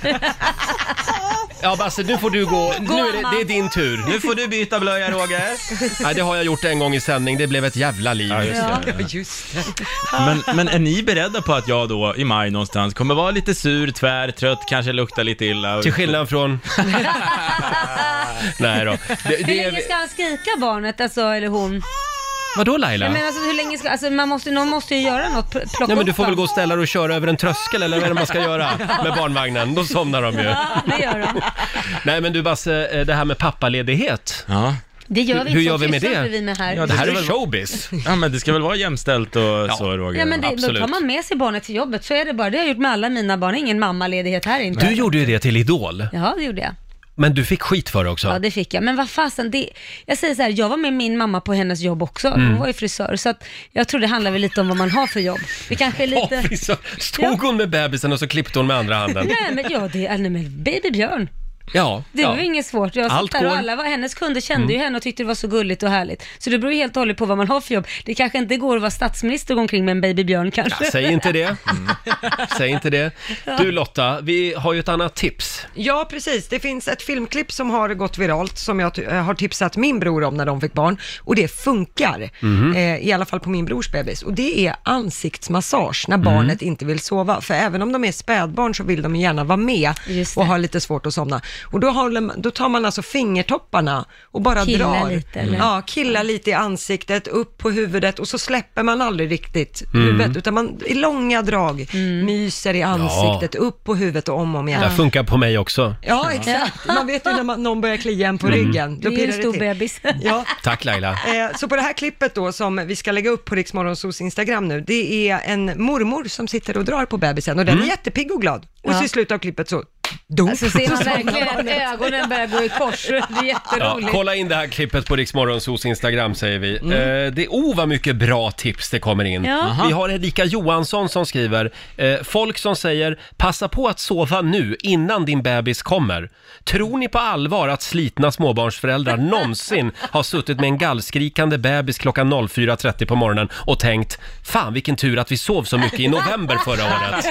[SPEAKER 1] Ja, Basse, nu får du gå. Nu är det, det är din tur.
[SPEAKER 6] Nu får du byta blöja Roger.
[SPEAKER 1] Nej, det har jag gjort en gång i sändning. Det blev ett jävla liv. Ja,
[SPEAKER 6] just det. Ja, Men, men är ni beredda på att jag då i maj någonstans kommer vara lite sur, tvär, trött, kanske lukta lite illa?
[SPEAKER 1] Till skillnad [laughs] från... Nej då. Det, det
[SPEAKER 2] Hur länge
[SPEAKER 1] är...
[SPEAKER 2] ska han skrika barnet, alltså, eller hon?
[SPEAKER 1] Vadå Laila?
[SPEAKER 2] Nej, men alltså, hur länge ska, alltså, man måste, någon måste ju göra något, pl- plocka
[SPEAKER 1] Nej men du
[SPEAKER 2] upp
[SPEAKER 1] får väl
[SPEAKER 2] dem.
[SPEAKER 1] gå och ställa dig och köra över en tröskel eller vad är det man ska göra med barnvagnen? Då somnar de ju.
[SPEAKER 2] Ja, det gör de.
[SPEAKER 1] Nej men du Basse, eh, det här med pappaledighet.
[SPEAKER 6] Ja.
[SPEAKER 2] Det gör
[SPEAKER 1] Hur-
[SPEAKER 2] vi
[SPEAKER 1] hur
[SPEAKER 2] inte,
[SPEAKER 1] gör
[SPEAKER 2] sånt
[SPEAKER 1] vi med
[SPEAKER 2] sysslar
[SPEAKER 1] det?
[SPEAKER 2] inte vi med här.
[SPEAKER 1] Ja, det här är väl showbiz?
[SPEAKER 6] Ja, men det ska väl vara jämställt och så Roger?
[SPEAKER 2] Ja, men det, då tar man med sig barnet till jobbet, så är det bara. Det har jag gjort med alla mina barn, ingen mammaledighet här inte.
[SPEAKER 1] Du gjorde ju det till Idol,
[SPEAKER 2] Ja, det gjorde jag.
[SPEAKER 1] men du fick skit för det också.
[SPEAKER 2] Ja, det fick jag. Men vad fasen, det, jag säger så här, jag var med min mamma på hennes jobb också.
[SPEAKER 1] Mm.
[SPEAKER 2] Hon var ju frisör, så att jag tror det handlar väl lite om vad man har för jobb. Det kanske är
[SPEAKER 1] Ja, [laughs]
[SPEAKER 2] lite...
[SPEAKER 1] visst. Stod hon med bebisen och så klippte hon med andra handen?
[SPEAKER 2] Nej, men ja, det är, nej, men Baby Björn.
[SPEAKER 1] Ja.
[SPEAKER 2] Det
[SPEAKER 1] ja.
[SPEAKER 2] var ju inget svårt. Jag
[SPEAKER 1] Allt
[SPEAKER 2] satt där och
[SPEAKER 1] går-
[SPEAKER 2] alla var, hennes kunder kände ju
[SPEAKER 1] Mm.
[SPEAKER 2] henne och tyckte det var så gulligt och härligt. Så det beror ju helt och hållet på vad man har för jobb. Det kanske inte går att vara statsminister och gå omkring med en babybjörn kanske.
[SPEAKER 1] Ja, säg inte det.
[SPEAKER 2] Mm.
[SPEAKER 1] Säg inte det. Du Lotta, vi har ju ett annat tips.
[SPEAKER 3] Ja, precis. Det finns ett filmklipp som har gått viralt som jag ty- eh, har tipsat min bror om när de fick barn och det funkar.
[SPEAKER 14] Mhm.
[SPEAKER 3] Eh, I alla fall på min brors bebis. Och det är ansiktsmassage
[SPEAKER 2] Mhm.
[SPEAKER 3] när barnet inte vill sova. För även om de är spädbarn så vill de ju gärna vara med och har lite svårt att somna. Och då, håller, man- då tar man alltså fingertopparna och bara
[SPEAKER 2] Killar
[SPEAKER 3] drar. Mm.
[SPEAKER 2] lite, eller?
[SPEAKER 3] Ja, killar lite i ansiktet, upp på huvudet och så släpper man aldrig riktigt
[SPEAKER 1] Mm.
[SPEAKER 3] huvudet utan man i långa drag
[SPEAKER 2] Mm.
[SPEAKER 3] myser i ansiktet, upp på huvudet och om och om
[SPEAKER 1] Det
[SPEAKER 3] igen.
[SPEAKER 1] här funkar på mig också.
[SPEAKER 3] Ja, exakt. Man vet ju när man, någon börjar klia en på
[SPEAKER 1] Mm.
[SPEAKER 3] ryggen.
[SPEAKER 2] Du är ju en
[SPEAKER 3] pirrar det
[SPEAKER 2] stor
[SPEAKER 3] till.
[SPEAKER 2] bebis.
[SPEAKER 3] [laughs] Ja.
[SPEAKER 1] Tack Laila.
[SPEAKER 3] Eh, Så på det här klippet då som vi ska lägga upp på Riksmorgonsos Instagram nu, det är en mormor som sitter och drar på bebisen och den är jättepigg och glad. Och så
[SPEAKER 2] Ja. Alltså-
[SPEAKER 3] i slutet av klippet så, dop!
[SPEAKER 2] Så ser man
[SPEAKER 3] somnar
[SPEAKER 2] verkligen att
[SPEAKER 3] barnet.
[SPEAKER 2] ögonen börjar gå i kors. Det är
[SPEAKER 1] Ja,
[SPEAKER 2] jätteroligt.
[SPEAKER 1] kolla in det här klippet på Riksmorgonsos Instagram säger vi.
[SPEAKER 2] Mm.
[SPEAKER 1] Eh, det, oh vad mycket bra tips det kommer in.
[SPEAKER 2] Ja. Aha.
[SPEAKER 1] Vi har Erika Johansson som skriver, eh, folk som säger passa på att sova nu innan din bebis kommer. Tror ni på allvar att slitna
[SPEAKER 2] [laughs]
[SPEAKER 1] småbarnsföräldrar någonsin har suttit med en gallskrikande bebis klockan 04.30 på morgonen och tänkt fan vilken tur att vi sov så mycket i november förra
[SPEAKER 2] [laughs]
[SPEAKER 1] året.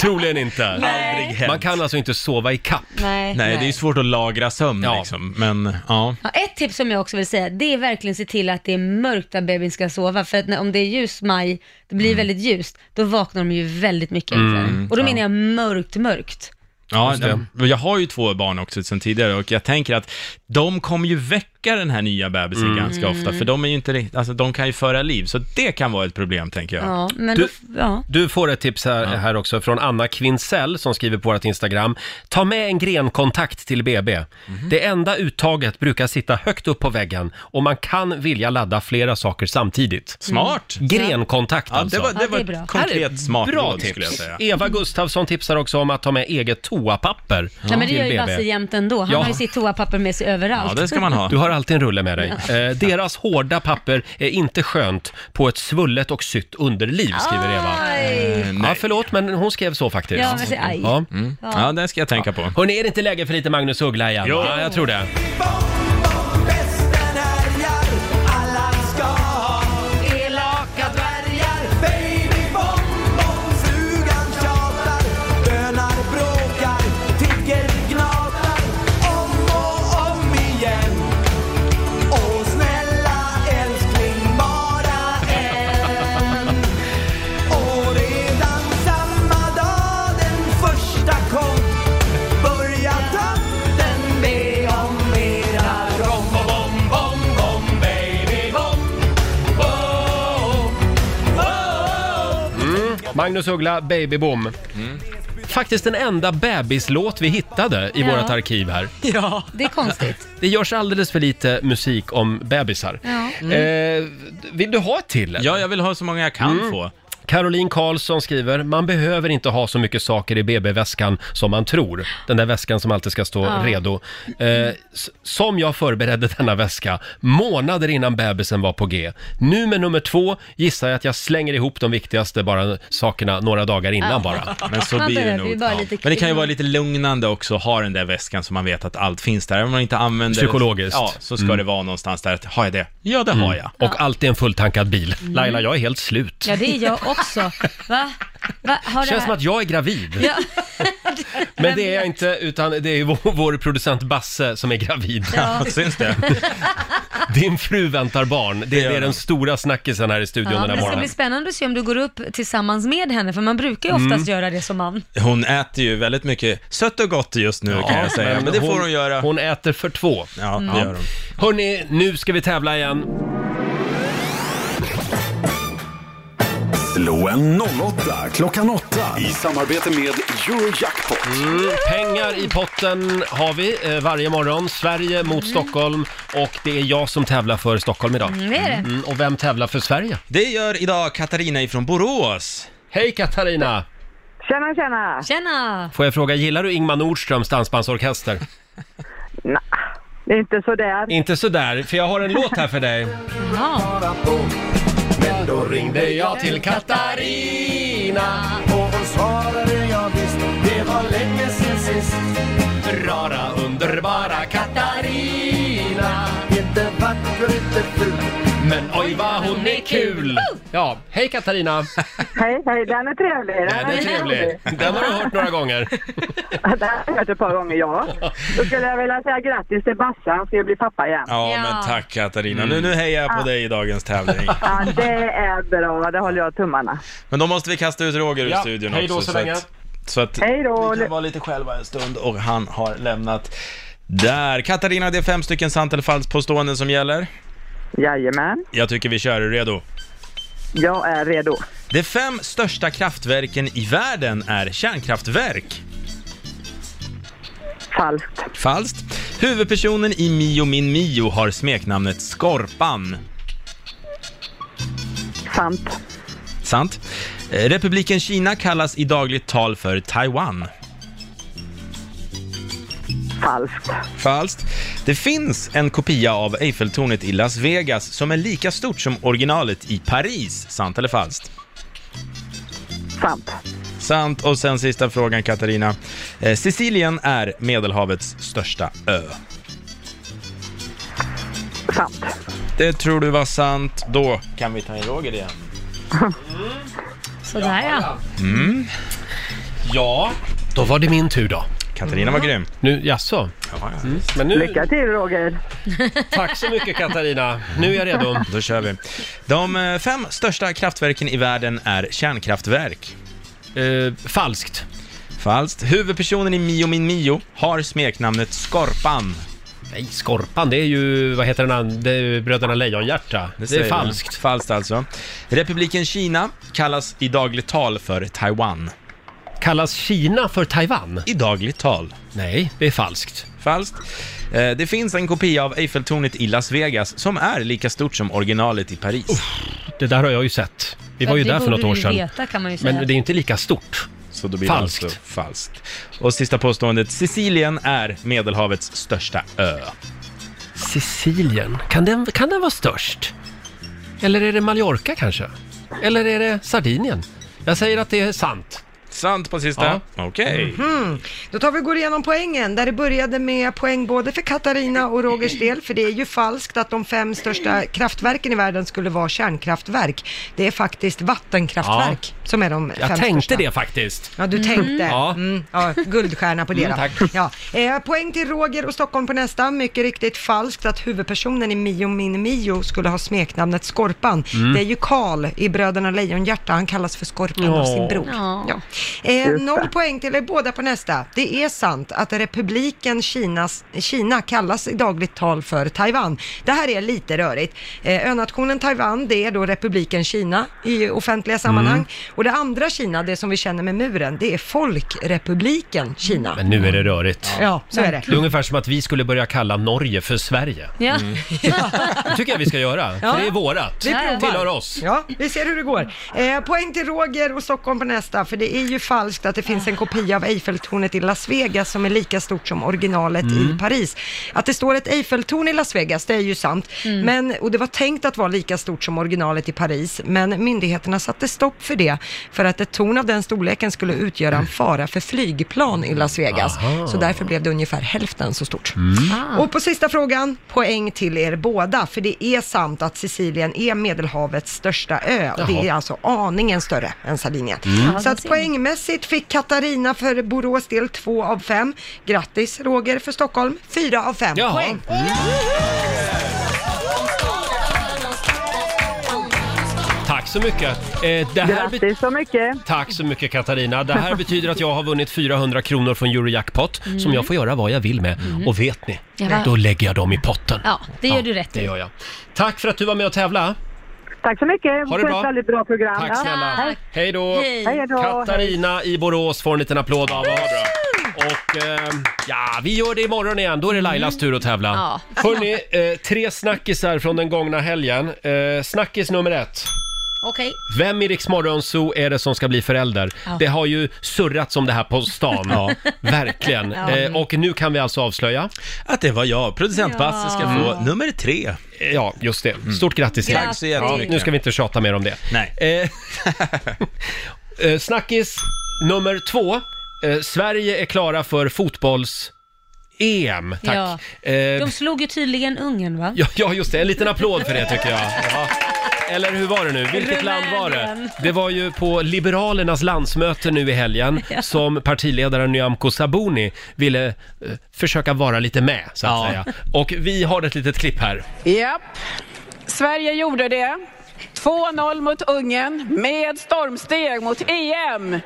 [SPEAKER 1] Troligen inte.
[SPEAKER 6] Nej. Aldrig hänt.
[SPEAKER 1] Man kan alltså inte sova i kapp.
[SPEAKER 2] Nej.
[SPEAKER 6] Nej, det är ju svårt att lagra sömn liksom, men ja.
[SPEAKER 2] Ja, ett tips som jag också vill säga, det är verkligen se till att det är mörkt där bebisen ska sova. För att när, om det är ljus maj, det
[SPEAKER 1] Mm.
[SPEAKER 2] blir väldigt ljust, då vaknar de ju väldigt mycket enklare.
[SPEAKER 6] Mm,
[SPEAKER 2] och då
[SPEAKER 6] ja.
[SPEAKER 2] menar jag mörkt, mörkt.
[SPEAKER 6] Ja,
[SPEAKER 1] Just det.
[SPEAKER 6] jag, jag har ju två barn också sedan tidigare och jag tänker att de kommer ju väcka den här nya bebisen
[SPEAKER 2] Mm.
[SPEAKER 6] ganska ofta, för de är ju inte rikt- alltså de kan ju föra liv, så det kan vara ett problem tänker jag.
[SPEAKER 2] Ja, men
[SPEAKER 1] Du-
[SPEAKER 2] då, ja.
[SPEAKER 1] Du får ett tips här, här också från Anna Kvinsell som skriver på vårt Instagram. Ta med en grenkontakt till BB.
[SPEAKER 2] Mhm.
[SPEAKER 1] Det enda uttaget brukar sitta högt upp på väggen och man kan vilja ladda flera saker samtidigt.
[SPEAKER 6] Smart.
[SPEAKER 1] Mm. Grenkontakt
[SPEAKER 6] Ja, det
[SPEAKER 1] alltså.
[SPEAKER 6] var- det Ja, det var är ett bra. konkret
[SPEAKER 1] Här är ett
[SPEAKER 6] smart
[SPEAKER 1] bra
[SPEAKER 6] råd,
[SPEAKER 1] tips.
[SPEAKER 6] skulle jag säga.
[SPEAKER 1] Eva Gustafsson tipsar också om att ta med eget toapapper
[SPEAKER 2] Nej, men det
[SPEAKER 1] till
[SPEAKER 2] gör ju
[SPEAKER 1] BB.
[SPEAKER 2] Basse jämt ändå. Han
[SPEAKER 1] Ja.
[SPEAKER 2] har ju sitt toapapper med sig överallt.
[SPEAKER 1] Du har alltid en rulle med dig. Eh, deras hårda papper är inte skönt på ett svullet och sytt underliv, skriver Eva.
[SPEAKER 6] Eh,
[SPEAKER 1] ja, förlåt, men hon skrev så faktiskt.
[SPEAKER 2] Ja, men så- aj.
[SPEAKER 1] Ja.
[SPEAKER 2] Mm. Ja. Ja,
[SPEAKER 1] det ska jag tänka på. Hörni, är det inte läge för lite Magnus Uggla igen?
[SPEAKER 6] Jo.
[SPEAKER 1] Ja, jag tror det.
[SPEAKER 14] Elaka dvärgar, baby bonbons, du
[SPEAKER 1] Magnus Uggla, Babyboom. Faktiskt den enda bebislåt vi hittade i
[SPEAKER 2] Ja.
[SPEAKER 1] vårt arkiv här.
[SPEAKER 2] Ja. Det är konstigt.
[SPEAKER 1] Det görs alldeles för lite musik om bebisar.
[SPEAKER 2] Ja.
[SPEAKER 1] Eh, vill du ha ett till? Ja,
[SPEAKER 6] jag vill ha så många jag kan få.
[SPEAKER 1] Caroline Karlsson skriver, man behöver inte ha så mycket saker i BB-väskan som man tror. Den där väskan som alltid ska stå
[SPEAKER 16] Ja.
[SPEAKER 1] redo. Eh, s- som jag förberedde denna väska månader innan bebisen var på G. Nu med nummer två gissar jag att jag slänger ihop de viktigaste bara, eh, sakerna några dagar innan
[SPEAKER 2] Ja.
[SPEAKER 1] bara.
[SPEAKER 6] Men så
[SPEAKER 2] Man
[SPEAKER 6] blir det
[SPEAKER 2] behöver
[SPEAKER 6] nog.
[SPEAKER 2] ju bara lite
[SPEAKER 6] Men det kan ju
[SPEAKER 2] kul.
[SPEAKER 6] vara lite lugnande också att ha den där väskan så man vet att allt finns där. Även om man inte använder
[SPEAKER 1] Psykologiskt.
[SPEAKER 6] Ja, så ska
[SPEAKER 1] Mm.
[SPEAKER 6] det vara någonstans där. att, Har jag det? Ja, det har jag. [laughs]
[SPEAKER 1] Och alltid en fulltankad bil. Laila, jag är helt slut.
[SPEAKER 2] Mm. Ja, det är jag också. Va? Va? Har
[SPEAKER 1] Det
[SPEAKER 2] det
[SPEAKER 1] känns
[SPEAKER 2] här-
[SPEAKER 1] som att jag är gravid.
[SPEAKER 2] Ja.
[SPEAKER 1] [laughs] Men det är jag inte, utan det är vår, vår producent Basse som är gravid.
[SPEAKER 2] Ja.
[SPEAKER 6] Syns det?
[SPEAKER 1] Din fru väntar barn. Det är, det är den stora snackisen här i studion
[SPEAKER 2] Ja,
[SPEAKER 1] den
[SPEAKER 2] men
[SPEAKER 1] här
[SPEAKER 2] det ska
[SPEAKER 1] morgonen.
[SPEAKER 2] bli spännande att se om du går upp tillsammans med henne, för man brukar ju oftast
[SPEAKER 6] Mm.
[SPEAKER 2] göra det som man.
[SPEAKER 6] Hon äter ju väldigt mycket sött och gott just nu kan jag säga. Men det får hon göra.
[SPEAKER 1] Hon äter för två.
[SPEAKER 6] Ja,
[SPEAKER 1] Mm.
[SPEAKER 6] det gör hon.
[SPEAKER 1] Hörni, nu ska vi tävla igen.
[SPEAKER 4] Slå en 08 klockan 8 i samarbete med Eurojackpot.
[SPEAKER 1] Mm, pengar i potten har vi eh, varje morgon. Sverige mot Stockholm och det är jag som tävlar för Stockholm idag.
[SPEAKER 2] Mm, det är det.
[SPEAKER 1] och vem tävlar för Sverige?
[SPEAKER 6] Det gör idag Katarina ifrån Borås.
[SPEAKER 1] Hej Katarina!
[SPEAKER 12] Tjena, tjena!
[SPEAKER 2] Tjena!
[SPEAKER 1] Får jag fråga, gillar du Ingmar Nordströms dansbandsorkester?
[SPEAKER 12] Det är inte sådär.
[SPEAKER 1] Inte sådär, för jag har en låt här för dig. Men då ringde jag till Katarina
[SPEAKER 14] och hon svarade jag visst, det var länge sen sist.
[SPEAKER 1] Rara, underbara Katarina
[SPEAKER 14] Inte vacker, inte ful,
[SPEAKER 1] Men oj vad hon är kul! Ja, hej Katarina!
[SPEAKER 12] Hej, hej, den är trevlig. Den,
[SPEAKER 1] Den är trevlig. Den har du hört några gånger.
[SPEAKER 12] Den har jag hört ett par gånger, ja. Då skulle jag vilja säga grattis till Basse, han ska ju bli pappa igen.
[SPEAKER 6] Ja, men tack Katarina. Nu, nu hejar jag på
[SPEAKER 12] Ja.
[SPEAKER 6] dig i dagens [laughs] tävling.
[SPEAKER 12] Ja, det är bra, det håller jag tummarna.
[SPEAKER 6] Men då måste vi kasta ut Roger ur
[SPEAKER 12] Ja,
[SPEAKER 6] studion
[SPEAKER 12] hej
[SPEAKER 6] också.
[SPEAKER 12] då så länge.
[SPEAKER 6] att, så att
[SPEAKER 12] Hej då!
[SPEAKER 6] vi kan vara lite själva en stund och han har lämnat. Där! Katarina, det är fem stycken sant eller falskt påståenden som gäller.
[SPEAKER 12] Jajamän,
[SPEAKER 6] Jag tycker vi kör. Är du redo?
[SPEAKER 12] jag är redo.
[SPEAKER 6] De fem största kraftverken i världen är kärnkraftverk.
[SPEAKER 12] Falskt.
[SPEAKER 6] Falskt. Huvudpersonen i Mio min Mio har smeknamnet Skorpan.
[SPEAKER 12] Sant.
[SPEAKER 6] Sant. Eh, Republiken Kina kallas i dagligt tal för Taiwan.
[SPEAKER 12] Falskt.
[SPEAKER 6] Falskt. Det finns en kopia av Eiffeltornet i Las Vegas som är lika stort som originalet i Paris. Sant eller falskt?
[SPEAKER 12] Sant.
[SPEAKER 6] Sant. Och sen sista frågan, Katarina. Eh, Sicilien är Medelhavets största ö.
[SPEAKER 12] Sant.
[SPEAKER 6] Det tror du var sant. Då kan vi ta in Roger igen.
[SPEAKER 2] Sådär ja.
[SPEAKER 6] Mm.
[SPEAKER 1] Ja, då var det min tur då.
[SPEAKER 6] Katarina var grym.
[SPEAKER 1] Nu, jaså? Mm, Men nu,
[SPEAKER 12] Lycka till Roger!
[SPEAKER 1] tack så mycket Katarina. Nu
[SPEAKER 12] [laughs]
[SPEAKER 1] är jag redo.
[SPEAKER 6] Då kör vi. De eh, fem största kraftverken i världen är kärnkraftverk.
[SPEAKER 1] Eh, falskt.
[SPEAKER 6] Falskt. Huvudpersonen i Mio min Mio har smeknamnet Skorpan.
[SPEAKER 1] Nej, Skorpan, det är ju, vad heter den andra? Det är ju Bröderna Lejonhjärta. Det,
[SPEAKER 6] säger
[SPEAKER 1] är
[SPEAKER 6] vi.
[SPEAKER 1] falskt.
[SPEAKER 6] Falskt alltså. Republiken Kina kallas i dagligt tal för Taiwan.
[SPEAKER 1] Kallas Kina för Taiwan?
[SPEAKER 6] I dagligt tal.
[SPEAKER 1] Nej, det är falskt.
[SPEAKER 6] Falskt. Eh, Det finns en kopia av Eiffeltornet i Las Vegas som är lika stort som originalet i Paris.
[SPEAKER 1] Det där har jag ju sett. Vi var ju
[SPEAKER 2] Ja, det
[SPEAKER 1] där för något
[SPEAKER 2] borde
[SPEAKER 1] år
[SPEAKER 2] vi
[SPEAKER 1] sedan.
[SPEAKER 2] Veta, kan man ju säga.
[SPEAKER 1] Men det är inte lika stort.
[SPEAKER 6] Så då blir
[SPEAKER 1] Falskt.
[SPEAKER 6] Det alltså falskt. Och sista påståendet. Sicilien är Medelhavets största ö.
[SPEAKER 1] Sicilien, kan den, kan den vara störst? Eller är det Mallorca kanske? Eller är det Sardinien? Jag säger att det är sant.
[SPEAKER 6] Sant på sista? Okej.
[SPEAKER 3] Mhm. Då tar vi och går igenom poängen, där det började med poäng både för Katarina och Rogers del, för det är ju falskt att de fem största kraftverken i världen skulle vara kärnkraftverk. Det är faktiskt vattenkraftverk som är de fem
[SPEAKER 1] Jag tänkte
[SPEAKER 3] största.
[SPEAKER 1] det faktiskt.
[SPEAKER 3] Ja, du tänkte.
[SPEAKER 1] Ja.
[SPEAKER 3] Mm, ja, guldstjärna på det
[SPEAKER 1] Mm,
[SPEAKER 3] då.
[SPEAKER 1] tack.
[SPEAKER 3] Ja. Eh, poäng till Roger och Stockholm på nästa. Mycket riktigt falskt att huvudpersonen i Mio min Mio skulle ha smeknamnet Skorpan.
[SPEAKER 14] Mm.
[SPEAKER 3] Det är ju Karl i Bröderna Lejonhjärta. Han kallas för Skorpan av sin
[SPEAKER 14] Ja.
[SPEAKER 3] bror.
[SPEAKER 2] Ja.
[SPEAKER 3] Eh,
[SPEAKER 14] Just det.
[SPEAKER 3] noll poäng till er båda på nästa. Det är sant att republiken Kinas, Kina kallas i dagligt tal för Taiwan. Det här är lite rörigt. Eh, önationen Taiwan, det är då republiken Kina i offentliga sammanhang.
[SPEAKER 14] Mm.
[SPEAKER 3] Och Och det andra Kina, det som vi känner med muren, det är Folkrepubliken Kina.
[SPEAKER 1] Men nu är det rörigt.
[SPEAKER 3] Ja, så är det.
[SPEAKER 1] Det är ungefär som att vi skulle börja kalla Norge för Sverige.
[SPEAKER 3] Ja.
[SPEAKER 1] Det tycker jag vi ska göra,
[SPEAKER 3] Ja.
[SPEAKER 1] för det är vårat.
[SPEAKER 3] Vi provar.
[SPEAKER 1] tillhör oss.
[SPEAKER 3] Ja, vi ser hur det går. Eh, poäng till Roger och Stockholm på nästa, för det är ju falskt att det finns en kopia av Eiffeltornet i Las Vegas som är lika stort som originalet
[SPEAKER 16] Mm.
[SPEAKER 3] i Paris. Att det står ett Eiffeltorn i Las Vegas, det är ju sant,
[SPEAKER 16] Mm.
[SPEAKER 3] men, och det var tänkt att vara lika stort som originalet i Paris, men myndigheterna satte stopp för det, för att ett torn av den storleken skulle utgöra en fara för flygplan i Las Vegas.
[SPEAKER 16] Aha.
[SPEAKER 3] Så därför blev det ungefär hälften så stort. Och på sista frågan, poäng till er båda, för det är sant att Sicilien är Medelhavets största ö.
[SPEAKER 16] Jaha.
[SPEAKER 3] Det är alltså aningen större än Sardinien.
[SPEAKER 16] Mm.
[SPEAKER 3] Så att poängmässigt fick Katarina för Borås del 2 av 5. Grattis Roger för Stockholm, 4 av 5
[SPEAKER 16] Jaha.
[SPEAKER 3] poäng.
[SPEAKER 1] Tack så mycket. Eh, det här bet-
[SPEAKER 10] Grattis så mycket.
[SPEAKER 1] Tack så mycket Katarina. Det här betyder att jag har vunnit 400 kronor från Eurojackpot
[SPEAKER 2] Mm.
[SPEAKER 1] som jag får göra vad jag vill med. Och vet ni?
[SPEAKER 2] Ja, va?
[SPEAKER 1] Då lägger jag dem i potten.
[SPEAKER 2] Ja, det gör du rätt
[SPEAKER 1] Det
[SPEAKER 2] i.
[SPEAKER 1] gör jag. Tack för att du var med och tävlade.
[SPEAKER 10] Tack så mycket.
[SPEAKER 1] Ha det
[SPEAKER 10] För
[SPEAKER 1] bra.
[SPEAKER 10] Ett väldigt bra program.
[SPEAKER 1] Tack
[SPEAKER 10] Ja.
[SPEAKER 1] snälla.
[SPEAKER 10] Hej.
[SPEAKER 1] Hej då.
[SPEAKER 10] Hej. Hej då.
[SPEAKER 1] Katarina i Borås får en liten applåd av oss. Och ehm, ja, vi gör det imorgon igen. Då är det Lailas tur att tävla.
[SPEAKER 2] Mm. Ja.
[SPEAKER 1] Hörni, eh, tre snackisar från den gångna helgen. Eh, snackis nummer ett.
[SPEAKER 2] Okej.
[SPEAKER 1] Vem i Rix Morgonzoo är det som ska bli förälder?
[SPEAKER 2] Ja.
[SPEAKER 1] Det har ju surrats om det här på stan.
[SPEAKER 6] Ja.
[SPEAKER 1] [laughs] Verkligen.
[SPEAKER 2] Ja.
[SPEAKER 1] Eh, och nu kan vi alltså avslöja? Att det var jag. Producent
[SPEAKER 6] Basse ska Ja. få
[SPEAKER 1] nummer tre. Ja, just det. Stort Mm. grattis till dig.
[SPEAKER 6] Tack så jättemycket.
[SPEAKER 1] Nu ska vi inte tjata mer om det. Nej. Eh, [laughs] eh, snackis nummer två. Eh, Sverige är klara för fotbolls-EM. Tack.
[SPEAKER 2] Ja.
[SPEAKER 1] Eh,
[SPEAKER 2] De slog ju tydligen Ungern va?
[SPEAKER 1] Ja, ja, just det. En liten applåd för det tycker jag. Ja. Eller hur var det nu? Vilket land var det?
[SPEAKER 2] Rumänien.
[SPEAKER 1] Det var ju på Liberalernas landsmöte nu i helgen
[SPEAKER 2] Ja.
[SPEAKER 1] som partiledaren Nyamko Sabuni ville eh, försöka vara lite med, så att säga. Och vi har ett litet klipp här.
[SPEAKER 7] Japp, Sverige gjorde det. 2-0 mot Ungern med stormsteg mot E EM.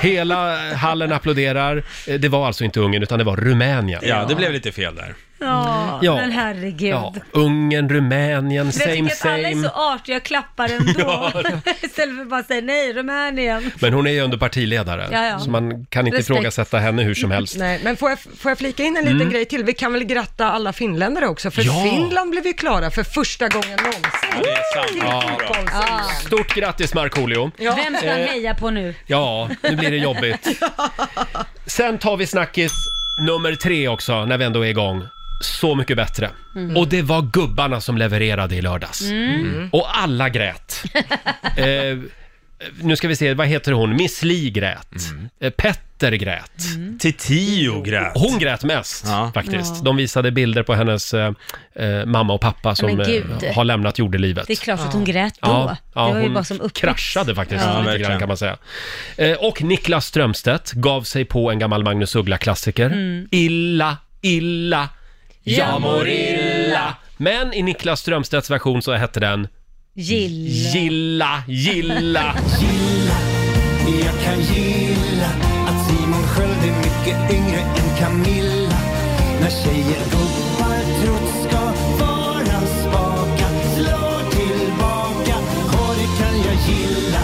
[SPEAKER 1] Hela hallen applåderar. Eh, Det var alltså inte Ungern, utan det var Rumänien.
[SPEAKER 6] Ja, det blev lite fel där.
[SPEAKER 2] Ja,
[SPEAKER 1] Ja.
[SPEAKER 2] men herregud.
[SPEAKER 1] Ja, Ungern, Rumänien,
[SPEAKER 2] Men jag
[SPEAKER 1] same
[SPEAKER 2] tycker att alla är
[SPEAKER 1] same.
[SPEAKER 2] så artiga och klappar ändå. [laughs] Istället för att bara säga nej, Rumänien.
[SPEAKER 1] Men hon är ju ändå partiledare,
[SPEAKER 2] Ja, ja.
[SPEAKER 1] så man kan inte
[SPEAKER 2] Respekt.
[SPEAKER 1] ifrågasätta henne hur som helst.
[SPEAKER 3] Nej, men får jag, får jag flika in en liten
[SPEAKER 1] Mm.
[SPEAKER 3] grej till? Vi kan väl gratta alla finländare också, för
[SPEAKER 1] Ja.
[SPEAKER 3] Finland blev ju klara för första gången någonsin.
[SPEAKER 1] det är
[SPEAKER 3] sant.
[SPEAKER 2] Ja.
[SPEAKER 1] Stort grattis Markoolio!
[SPEAKER 2] Vem ska
[SPEAKER 1] Eh,
[SPEAKER 2] han heja på nu?
[SPEAKER 1] Ja, nu blir det
[SPEAKER 2] [laughs]
[SPEAKER 1] jobbigt. Sen tar vi snackis nummer tre också, när vi ändå är igång. Så mycket bättre.
[SPEAKER 2] Mm.
[SPEAKER 1] Och det var gubbarna som levererade i lördags.
[SPEAKER 2] Mm. Mm.
[SPEAKER 1] Och alla
[SPEAKER 2] [laughs]
[SPEAKER 1] grät. eh, nu ska vi se, vad heter hon? Miss Li grät.
[SPEAKER 2] Mm.
[SPEAKER 1] Eh, Petter grät. Titio grät. Hon grät mest faktiskt.
[SPEAKER 2] Ja.
[SPEAKER 1] De visade bilder på hennes eh, eh, mamma och pappa som
[SPEAKER 2] Men
[SPEAKER 1] eh,
[SPEAKER 2] gud.
[SPEAKER 1] har lämnat jordelivet.
[SPEAKER 2] Det är klart att hon grät då. det var ju bara som uppväxt.
[SPEAKER 1] kraschade faktiskt
[SPEAKER 2] Ja.
[SPEAKER 1] lite
[SPEAKER 2] verkligen.
[SPEAKER 1] grann kan man säga. Eh, och Niklas Strömstedt gav sig på en gammal Magnus Uggla-klassiker.
[SPEAKER 2] Mm.
[SPEAKER 1] Illa, illa, jag mår illa. Men i Niklas Strömstedts version så hette den
[SPEAKER 2] Gilla.
[SPEAKER 1] Gilla,
[SPEAKER 14] [laughs]
[SPEAKER 1] gilla.
[SPEAKER 14] Jag kan gilla att Simon Sköld är mycket yngre än Camilla När tjejer guppar trots ska vara spaka Slår tillbaka, och det kan jag gilla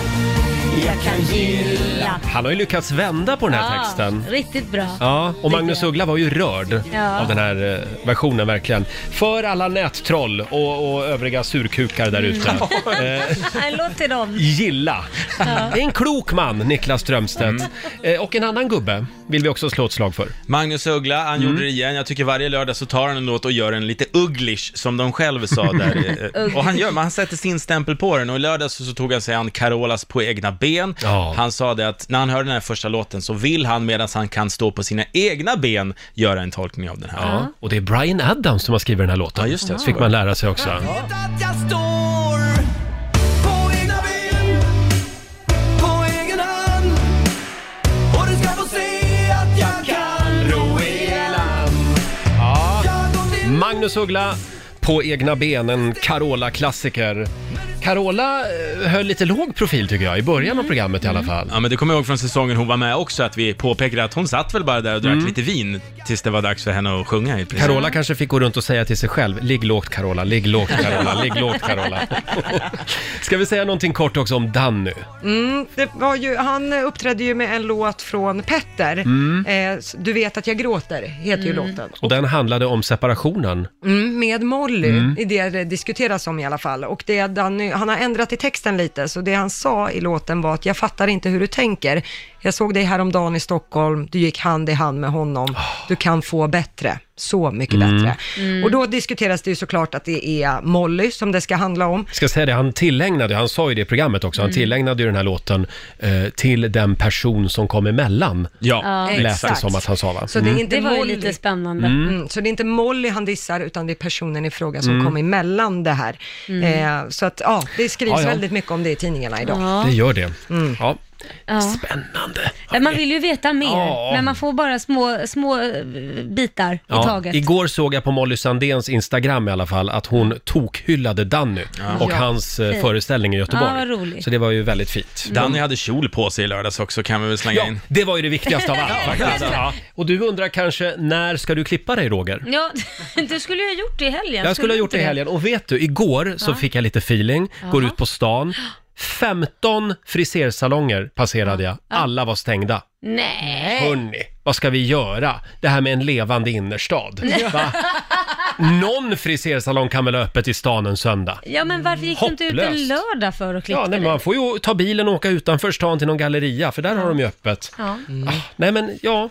[SPEAKER 14] Jag kan gilla Ah.
[SPEAKER 1] Han har ju lyckats vända på den här
[SPEAKER 2] Ja,
[SPEAKER 1] texten.
[SPEAKER 2] Riktigt bra.
[SPEAKER 1] Ja, och Magnus Uggla var ju rörd
[SPEAKER 2] Ja.
[SPEAKER 1] av den här eh, versionen verkligen. För alla nättroll och, och övriga surkukar där
[SPEAKER 14] Mm.
[SPEAKER 1] ute.
[SPEAKER 14] [laughs]
[SPEAKER 1] Eh,
[SPEAKER 2] En låt till dem.
[SPEAKER 1] Gilla. Det är en klok man, Niklas Strömstedt. Eh, Och en annan gubbe vill vi också slå ett slag för.
[SPEAKER 6] Magnus Uggla, han
[SPEAKER 1] Mm.
[SPEAKER 6] gjorde det igen. Jag tycker varje lördag så tar han en låt och gör en lite uglish, som de
[SPEAKER 1] [laughs]
[SPEAKER 6] själv sa där. Eh, och han, gör, men han sätter sin stämpel på den och i lördags så, så tog han sig an Carolas på egna ben. Han sa det att när han hör den här första låten så vill han, medan han kan stå på sina egna ben, göra en tolkning av den här.
[SPEAKER 1] Ja. Och det är Brian Adams som har skrivit den här låten. Ja, just
[SPEAKER 6] det.
[SPEAKER 1] Fick man lära sig också.
[SPEAKER 14] Att jag står på egna ben, på egen hand Och du ska få se att jag kan ro i land
[SPEAKER 1] Ja. Magnus Uggla på egna ben, en Carola-klassiker. Carola eh, höll lite låg profil tycker jag, i början
[SPEAKER 14] Mm.
[SPEAKER 1] av programmet i alla fall.
[SPEAKER 6] Ja, men det kommer jag ihåg från säsongen hon var med också, att vi påpekade att hon satt väl bara där och drack lite vin tills det var dags för henne att sjunga i princip.
[SPEAKER 1] Carola kanske fick gå runt och säga till sig själv, ligg lågt Carola, ligg lågt Carola, ligg lågt
[SPEAKER 2] [laughs]
[SPEAKER 1] Carola. Ska vi säga någonting kort också om Danny?
[SPEAKER 3] Mm, det var ju, han eh, uppträdde ju med en låt från Petter.
[SPEAKER 1] Mm.
[SPEAKER 3] Eh, s- du vet att jag gråter, heter ju låten.
[SPEAKER 1] Och den handlade om separationen.
[SPEAKER 3] Mm, med Molly,
[SPEAKER 1] Mm.
[SPEAKER 3] i det det diskuteras om i alla fall. Och det Danny, han har ändrat i texten lite, så det han sa i låten var att jag fattar inte hur du tänker. Jag såg dig häromdagen i Stockholm, du gick hand i hand med honom, du kan få bättre. Så mycket
[SPEAKER 1] Mm.
[SPEAKER 3] bättre.
[SPEAKER 1] Mm.
[SPEAKER 3] Och då diskuteras det ju såklart att det är Molly som det ska handla om.
[SPEAKER 1] Ska säga det, han tillägnade, han sa ju det i programmet också, han
[SPEAKER 3] Mm.
[SPEAKER 1] tillägnade ju den här låten eh, till den person som kom emellan.
[SPEAKER 2] Ja,
[SPEAKER 1] lät det
[SPEAKER 2] exakt.
[SPEAKER 1] som att han sa va?
[SPEAKER 3] Så det, är
[SPEAKER 1] Mm.
[SPEAKER 3] inte
[SPEAKER 2] Det var ju
[SPEAKER 3] Molly.
[SPEAKER 2] lite spännande.
[SPEAKER 1] Mm.
[SPEAKER 3] Mm, så det är inte Molly han dissar, utan det är personen i fråga som
[SPEAKER 1] Mm.
[SPEAKER 3] kom emellan det här.
[SPEAKER 2] Mm.
[SPEAKER 3] Eh, så att, ja, det skrivs
[SPEAKER 1] Ja, ja.
[SPEAKER 3] väldigt mycket om det i tidningarna idag.
[SPEAKER 2] Ja. Mm.
[SPEAKER 1] Det gör det. Ja.
[SPEAKER 2] Spännande. Man vill ju veta mer,
[SPEAKER 1] Ja.
[SPEAKER 2] men man får bara små, små eh, bitar i
[SPEAKER 1] Ja,
[SPEAKER 2] taget.
[SPEAKER 1] igår såg jag på Molly Sandéns Instagram i alla fall att hon tokhyllade Danny och
[SPEAKER 2] Ja.
[SPEAKER 1] hans eh,
[SPEAKER 2] Fint.
[SPEAKER 1] föreställning i Göteborg.
[SPEAKER 2] Ja, vad roligt. Mm.
[SPEAKER 1] Så det var ju väldigt fint.
[SPEAKER 6] Danny hade kjol på sig i lördags också, kan vi väl slänga
[SPEAKER 1] Ja,
[SPEAKER 6] in.
[SPEAKER 1] det var ju det viktigaste av allt
[SPEAKER 6] [laughs] Ja,
[SPEAKER 1] faktiskt.
[SPEAKER 6] det var det.
[SPEAKER 1] Och du undrar kanske, när ska du klippa dig Roger?
[SPEAKER 2] Ja, [laughs] du skulle ju ha gjort det i helgen.
[SPEAKER 1] Jag skulle ha gjort
[SPEAKER 2] du
[SPEAKER 1] det i
[SPEAKER 2] Mm, inte
[SPEAKER 1] helgen och vet du, igår så
[SPEAKER 2] Ja.
[SPEAKER 1] fick jag lite feeling, går
[SPEAKER 2] Ja.
[SPEAKER 1] ut på
[SPEAKER 2] [gasps]
[SPEAKER 1] stan. 15 frisersalonger passerade jag, alla var stängda.
[SPEAKER 2] Nej.
[SPEAKER 1] Hörni, vad ska vi göra? Det här med en levande innerstad.
[SPEAKER 2] [laughs]
[SPEAKER 1] Va? Någon frisersalong kan väl ha öppet i stan en söndag?
[SPEAKER 2] Ja, men varför gick du inte ut en
[SPEAKER 1] Hopplöst.
[SPEAKER 2] lördag för och klippte
[SPEAKER 1] Ja, nej, man får ju ta bilen och åka utanför stan till någon galleria, för där har de ju öppet.
[SPEAKER 2] Ja. Mm.
[SPEAKER 1] Ah, nej, men ja.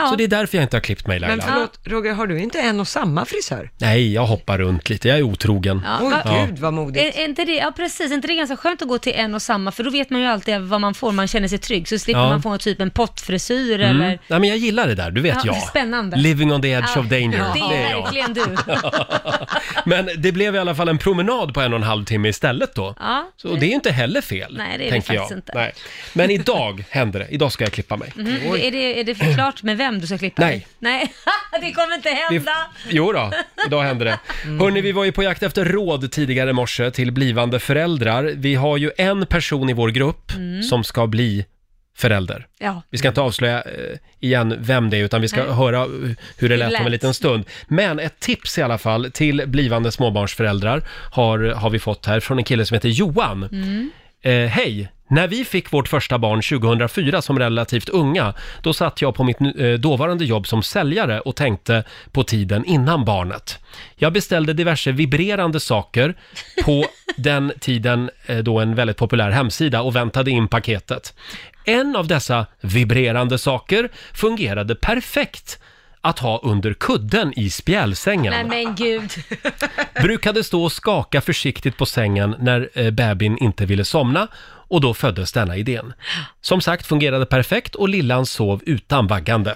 [SPEAKER 2] Ja.
[SPEAKER 1] Så det är därför jag inte har klippt mig, Laila.
[SPEAKER 3] Men förlåt, Roger, har du inte en och samma frisör?
[SPEAKER 1] Nej, jag hoppar runt lite. Jag är otrogen.
[SPEAKER 2] Ah,
[SPEAKER 3] vad modigt.
[SPEAKER 2] Är, är inte det, ja precis, är inte det ganska skönt att gå till en och samma, för då vet man ju alltid vad man får, man känner sig trygg, så slipper
[SPEAKER 1] Ja.
[SPEAKER 2] man få typ en pottfrisyr
[SPEAKER 1] Mm.
[SPEAKER 2] eller...
[SPEAKER 1] Nej, men jag gillar det där, du vet
[SPEAKER 2] Ja,
[SPEAKER 1] jag.
[SPEAKER 2] spännande.
[SPEAKER 1] Living on the edge
[SPEAKER 2] Ja,
[SPEAKER 1] of danger.
[SPEAKER 2] Det är verkligen du.
[SPEAKER 1] [laughs] Men det blev i alla fall en promenad på en och en halv timme istället då.
[SPEAKER 2] Ja,
[SPEAKER 1] Så det är ju inte heller fel,
[SPEAKER 2] Nej, det är det
[SPEAKER 1] tänker
[SPEAKER 2] faktiskt
[SPEAKER 1] jag.
[SPEAKER 2] inte.
[SPEAKER 1] Nej. Men idag händer det. Idag ska jag klippa mig.
[SPEAKER 2] Mhm. Är, det, är det förklart med vem du ska klippa
[SPEAKER 1] Nej.
[SPEAKER 2] dig? Nej, [laughs] det kommer inte
[SPEAKER 1] Vi-
[SPEAKER 2] hända.
[SPEAKER 1] Jo då, idag händer det.
[SPEAKER 2] Mm.
[SPEAKER 1] Hörni, vi var ju på jakt efter råd tidigare i morse till blivande föräldrar. Vi har ju en person i vår grupp
[SPEAKER 2] Mm.
[SPEAKER 1] som ska bli förälder.
[SPEAKER 2] Ja.
[SPEAKER 1] Vi ska inte avslöja eh, igen vem det är, utan vi ska
[SPEAKER 2] Nej.
[SPEAKER 1] höra eh, hur det lät om en
[SPEAKER 2] lät.
[SPEAKER 1] liten stund. Men ett tips i alla fall till blivande småbarnsföräldrar har, har vi fått här från en kille som heter Johan.
[SPEAKER 2] Mm.
[SPEAKER 1] Eh, Hej! När vi fick vårt första barn 2004 som relativt unga, då satt jag på mitt nu- eh, dåvarande jobb som säljare och tänkte på tiden innan barnet. Jag beställde diverse vibrerande saker på den tiden eh, då en väldigt populär hemsida och väntade in paketet. En av dessa vibrerande saker fungerade perfekt att ha under kudden i spjälsängen
[SPEAKER 2] Nej men gud.
[SPEAKER 1] brukade stå och skaka försiktigt på sängen när eh, bebin inte ville somna och då föddes denna idén. Som sagt fungerade perfekt och lillan sov utan vaggande.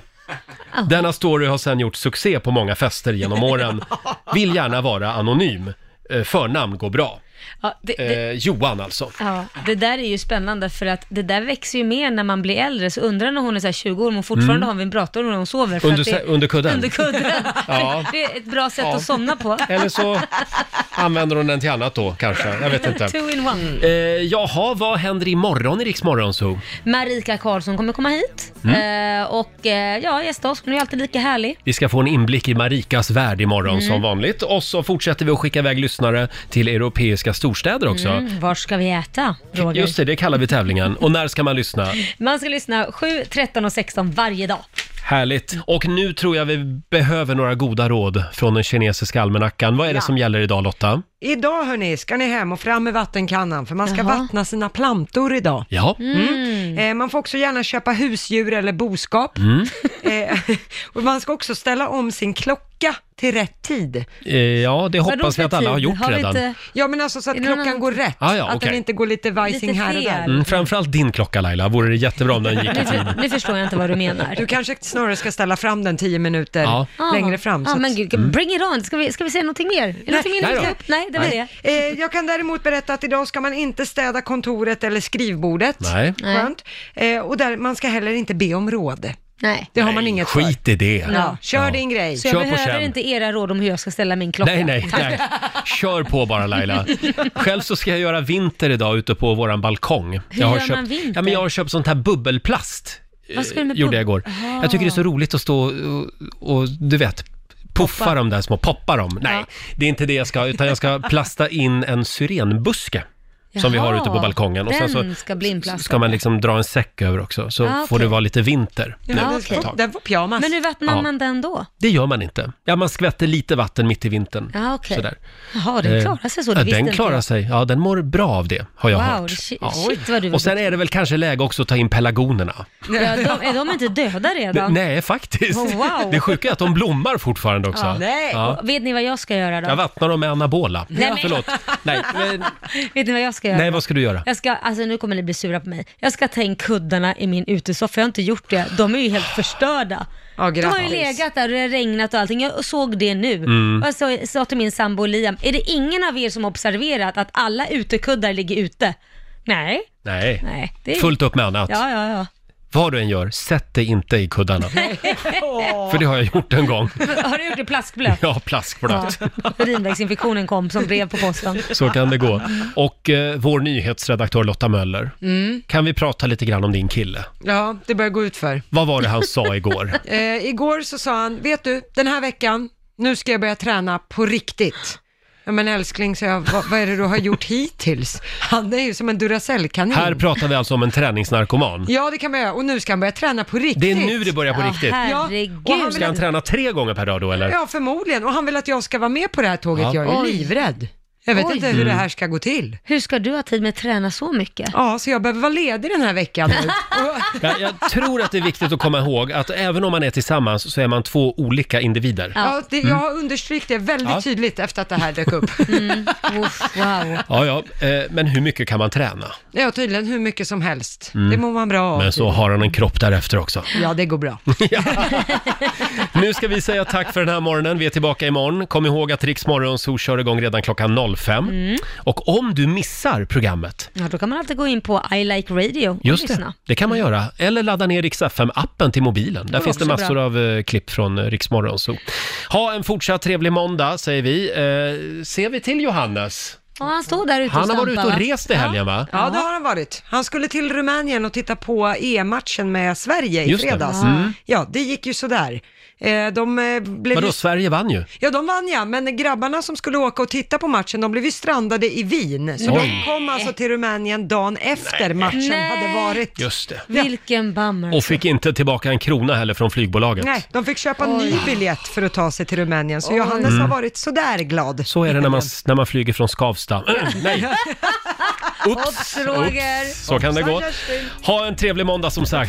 [SPEAKER 1] Denna story har sen gjort succé på många fester genom åren. Vill gärna vara anonym. Eh, Förnamn går bra.
[SPEAKER 2] Ja, det, det,
[SPEAKER 1] Eh, Johan alltså.
[SPEAKER 2] ja, det där är ju spännande för att det där växer ju med när man blir äldre, så undrar när hon är så här 20 år om hon fortfarande
[SPEAKER 1] Mm.
[SPEAKER 2] har en vibrator när hon sover. för
[SPEAKER 1] Under,
[SPEAKER 2] att det,
[SPEAKER 1] sä- under kudden.
[SPEAKER 2] Under kudden.
[SPEAKER 1] [laughs] Ja.
[SPEAKER 2] [laughs] Det är ett bra sätt
[SPEAKER 1] Ja.
[SPEAKER 2] att somna på.
[SPEAKER 1] Eller så använder hon den till annat då kanske. Jag vet inte.
[SPEAKER 2] [laughs] Two in one.
[SPEAKER 1] Eh, jaha, vad händer imorgon i Rix Morgon Zoo?
[SPEAKER 2] Marika Karlsson kommer komma hit
[SPEAKER 1] Mm.
[SPEAKER 2] eh, och eh, ja, gästa oss. Hon är ju alltid lika härlig.
[SPEAKER 1] Vi ska få en inblick i Marikas värld imorgon
[SPEAKER 2] Mm.
[SPEAKER 1] som vanligt. Och så fortsätter vi att skicka iväg lyssnare till europeiska storstäder också.
[SPEAKER 2] Mm, var ska vi äta, Roger?
[SPEAKER 1] Just det, det kallar vi tävlingen. Och när ska man lyssna?
[SPEAKER 2] Man ska lyssna 7, 13 och 16 varje dag.
[SPEAKER 1] Härligt. Och nu tror jag vi behöver några goda råd från den kinesiska almanackan. Vad är det
[SPEAKER 3] Ja.
[SPEAKER 1] som gäller idag Lotta?
[SPEAKER 3] Idag hörni, ska ni hem och fram med vattenkannan, för man ska
[SPEAKER 2] Jaha.
[SPEAKER 3] vattna sina plantor idag.
[SPEAKER 1] Ja.
[SPEAKER 3] Mm. Eh, man får också gärna köpa husdjur eller boskap.
[SPEAKER 1] Mm.
[SPEAKER 3] [laughs] Eh, och man ska också ställa om sin klocka till rätt tid.
[SPEAKER 1] Eh, ja, det hoppas vi att alla har gjort redan.
[SPEAKER 3] Ja, men alltså så att klockan går rätt.
[SPEAKER 1] Ah, ja,
[SPEAKER 3] att den
[SPEAKER 1] okej.
[SPEAKER 3] inte går lite vajsing
[SPEAKER 2] Lite
[SPEAKER 3] här och där.
[SPEAKER 2] fel.
[SPEAKER 1] Mm, framförallt din klocka Laila, vore det jättebra om den gick
[SPEAKER 2] [laughs]
[SPEAKER 1] i tid.
[SPEAKER 2] Nu förstår jag inte vad
[SPEAKER 1] [laughs]
[SPEAKER 2] du menar.
[SPEAKER 3] Du kanske snarare ska ställa fram den tio minuter
[SPEAKER 1] Ja.
[SPEAKER 3] längre fram.
[SPEAKER 2] Ja,
[SPEAKER 3] så att-
[SPEAKER 2] Ah. men
[SPEAKER 1] Mm.
[SPEAKER 2] gud, bring it on. Ska vi, ska vi säga någonting mer? Är det någonting mer
[SPEAKER 3] Nej
[SPEAKER 2] vi
[SPEAKER 3] då.
[SPEAKER 2] ska- Nej, det var det.
[SPEAKER 3] Eh, jag kan däremot berätta att idag ska man inte städa kontoret eller skrivbordet.
[SPEAKER 1] Nej.
[SPEAKER 3] Skönt. Eh, och där, man ska heller inte be om råd.
[SPEAKER 2] Nej.
[SPEAKER 3] Det har man inget för.
[SPEAKER 1] Skit i det.
[SPEAKER 3] Ja, kör din grej.
[SPEAKER 2] Så jag
[SPEAKER 1] Kör på
[SPEAKER 2] behöver
[SPEAKER 1] känn.
[SPEAKER 2] inte era råd om hur jag ska ställa min klocka.
[SPEAKER 1] Nej, nej,
[SPEAKER 2] Tack.
[SPEAKER 1] nej. Kör på bara
[SPEAKER 2] [laughs]
[SPEAKER 1] Laila. Själv så ska jag göra vinter idag ute på våran balkong.
[SPEAKER 2] Hur
[SPEAKER 1] jag har
[SPEAKER 2] gör man
[SPEAKER 1] köpt,
[SPEAKER 2] vinter?
[SPEAKER 1] Ja, men jag har köpt sånt här bubbelplast.
[SPEAKER 2] Vad ska du med
[SPEAKER 1] eh, gjorde jag
[SPEAKER 2] bub-
[SPEAKER 1] igår.
[SPEAKER 2] Aha.
[SPEAKER 1] Jag tycker det är så roligt att stå och, och du vet, puffa de där små, poppa dem. Nej, det är inte det jag ska, utan jag ska plasta in en syrenbuske. Som vi har ute på
[SPEAKER 2] Jaha,
[SPEAKER 1] balkongen. Och sen så
[SPEAKER 2] den ska bli inplastad.
[SPEAKER 1] ska man liksom dra en säck över också, så
[SPEAKER 2] Ah,
[SPEAKER 1] får
[SPEAKER 2] okej.
[SPEAKER 1] det vara lite vinter.
[SPEAKER 2] Ja,
[SPEAKER 1] nu
[SPEAKER 2] okej.
[SPEAKER 1] ett tag.
[SPEAKER 3] Den var pyjamas.
[SPEAKER 2] Men hur vattnar
[SPEAKER 1] Ja.
[SPEAKER 2] man den då?
[SPEAKER 1] Det gör man inte. Ja, man skvätter lite vatten mitt i vintern.
[SPEAKER 2] Ja, Ah, okej.
[SPEAKER 1] Sådär.
[SPEAKER 2] Jaha, den
[SPEAKER 1] Eh,
[SPEAKER 2] klarar sig så. Det
[SPEAKER 1] ja,
[SPEAKER 2] visste
[SPEAKER 1] den
[SPEAKER 2] inte
[SPEAKER 1] klarar
[SPEAKER 2] jag.
[SPEAKER 1] sig. Ja, den mår bra av det, har jag
[SPEAKER 2] Wow,
[SPEAKER 1] hört.
[SPEAKER 2] det- shit-
[SPEAKER 1] ja.
[SPEAKER 2] shit, vad du var
[SPEAKER 1] Och sen är det väl kanske läge också att ta in pelargonerna.
[SPEAKER 2] [laughs] Ja, de, är de inte döda redan?
[SPEAKER 1] Nej, faktiskt.
[SPEAKER 2] Oh,
[SPEAKER 1] [laughs]
[SPEAKER 2] wow.
[SPEAKER 1] Det sjuka är att de blommar fortfarande också.
[SPEAKER 2] Ja. Och Vet ni vad jag ska göra då?
[SPEAKER 1] Jag vattnar dem med anabola.
[SPEAKER 2] Nej, men-
[SPEAKER 1] Förlåt.
[SPEAKER 2] [laughs]
[SPEAKER 1] Nej, men-
[SPEAKER 2] Vet ni vad jag ska göra?
[SPEAKER 1] nej, vad ska du göra?
[SPEAKER 2] Jag ska, alltså nu kommer ni bli sura på mig. Jag ska ta in kuddarna i min utesoffa, jag har inte gjort det. De är ju helt förstörda. de har ju
[SPEAKER 3] grattis.
[SPEAKER 2] legat där och det har regnat och allting. Jag såg det nu.
[SPEAKER 3] Mm.
[SPEAKER 2] Och jag sa- sa till min sambo Liam, är det ingen av er som har observerat att alla utekuddar ligger ute? Nej.
[SPEAKER 1] Nej.
[SPEAKER 2] Nej, det är-
[SPEAKER 1] Fullt upp med annat.
[SPEAKER 2] Ja, ja, ja.
[SPEAKER 1] Vad du än gör, sätt dig inte i kuddarna. [laughs] För det har jag gjort en gång.
[SPEAKER 2] Har du gjort det plaskblött?
[SPEAKER 1] [laughs] Ja, plaskblött.
[SPEAKER 2] Ja. Urinvägsinfektionen kom som brev på posten.
[SPEAKER 1] Så kan det gå. Och eh, vår nyhetsredaktör Lotta Möller.
[SPEAKER 3] Mm.
[SPEAKER 1] Kan vi prata lite grann om din kille?
[SPEAKER 3] Ja, det börjar gå ut för.
[SPEAKER 1] Vad var det han sa igår?
[SPEAKER 3] Eh, igår så sa han, vet du, den här veckan, nu ska jag börja träna på riktigt. Ja, men älskling, så jag, vad, vad är det du har gjort hittills? Han är ju som en Duracell-kanin.
[SPEAKER 1] Här pratar vi alltså om en träningsnarkoman.
[SPEAKER 3] Ja, det kan man göra. Och nu ska han börja träna på riktigt.
[SPEAKER 1] Det är nu det börjar på riktigt.
[SPEAKER 3] och han vill
[SPEAKER 1] Ska han
[SPEAKER 3] att,
[SPEAKER 1] träna tre gånger per dag då eller?
[SPEAKER 3] ja, förmodligen. Och han vill att jag ska vara med på det här tåget.
[SPEAKER 1] Ja.
[SPEAKER 3] Jag är ju
[SPEAKER 1] Oj.
[SPEAKER 3] livrädd. Jag vet
[SPEAKER 2] Oj.
[SPEAKER 3] inte hur det
[SPEAKER 1] Mm.
[SPEAKER 3] här ska gå till.
[SPEAKER 2] Hur ska du ha tid med att träna
[SPEAKER 3] [laughs]
[SPEAKER 2] så mycket?
[SPEAKER 3] Ja, så jag behöver vara ledig den här veckan
[SPEAKER 1] [laughs]
[SPEAKER 3] nu.
[SPEAKER 1] Jag, jag tror att det är viktigt att komma ihåg att även om man är tillsammans så är man två olika individer.
[SPEAKER 3] Ja, det, jag
[SPEAKER 1] Mm.
[SPEAKER 3] har understrykt det väldigt
[SPEAKER 1] Ja.
[SPEAKER 3] tydligt efter att det här dök upp.
[SPEAKER 1] [laughs]
[SPEAKER 2] wow.
[SPEAKER 1] Ja, ja, eh, men hur mycket kan man träna?
[SPEAKER 3] Ja, tydligen hur mycket som helst.
[SPEAKER 1] Mm.
[SPEAKER 3] Det mår man bra av.
[SPEAKER 1] Men så har han en kropp därefter också.
[SPEAKER 3] Ja, det går bra.
[SPEAKER 1] Nu ska vi säga tack för den här morgonen. Vi är tillbaka imorgon. Kom ihåg att Rix Morgonzoo kör igång redan klockan 05.
[SPEAKER 2] Mm.
[SPEAKER 1] Och om du missar programmet,
[SPEAKER 2] Ja, då kan man alltid gå in på I like radio och
[SPEAKER 1] just det,
[SPEAKER 2] lyssna.
[SPEAKER 1] det kan man göra. Eller ladda ner Rix FM-appen till mobilen. Där
[SPEAKER 2] Det
[SPEAKER 1] finns det
[SPEAKER 2] låter
[SPEAKER 1] massor
[SPEAKER 2] bra.
[SPEAKER 1] av eh, klipp från eh, Rix Morgonzoo. Ha en fortsatt trevlig måndag, säger vi. Eh, ser vi till Johannes?
[SPEAKER 2] Ja, han står där ute
[SPEAKER 1] Han har
[SPEAKER 2] och
[SPEAKER 1] varit
[SPEAKER 2] stampar,
[SPEAKER 1] ute och
[SPEAKER 2] va?
[SPEAKER 1] rest i helgen, va?
[SPEAKER 3] Ja, det har han varit. Han skulle till Rumänien och titta på EM-matchen med Sverige i
[SPEAKER 1] Just det.
[SPEAKER 3] fredags.
[SPEAKER 1] Mm.
[SPEAKER 3] Ja, det gick ju sådär. Eh, De eh, blev
[SPEAKER 1] Vadå,
[SPEAKER 3] ju...
[SPEAKER 1] Sverige vann ju.
[SPEAKER 3] Ja, de vann ja, men grabbarna som skulle åka och titta på matchen, de blev ju strandade i Wien. Så
[SPEAKER 1] Oj.
[SPEAKER 3] de kom alltså till Rumänien dagen efter matchen hade varit.
[SPEAKER 1] Just det.
[SPEAKER 2] Vilken bummer.
[SPEAKER 1] Och fick inte tillbaka en krona heller från flygbolaget.
[SPEAKER 3] Nej, de fick köpa en ny biljett för att ta sig till Rumänien, så
[SPEAKER 2] Oj.
[SPEAKER 3] Johannes har
[SPEAKER 1] Mm.
[SPEAKER 3] varit sådär glad.
[SPEAKER 1] Så är det när man, när man flyger från Skavsta. [clears throat] Nej,
[SPEAKER 2] Oops, Roger.
[SPEAKER 1] så kan det gå. Ha en trevlig måndag som sagt.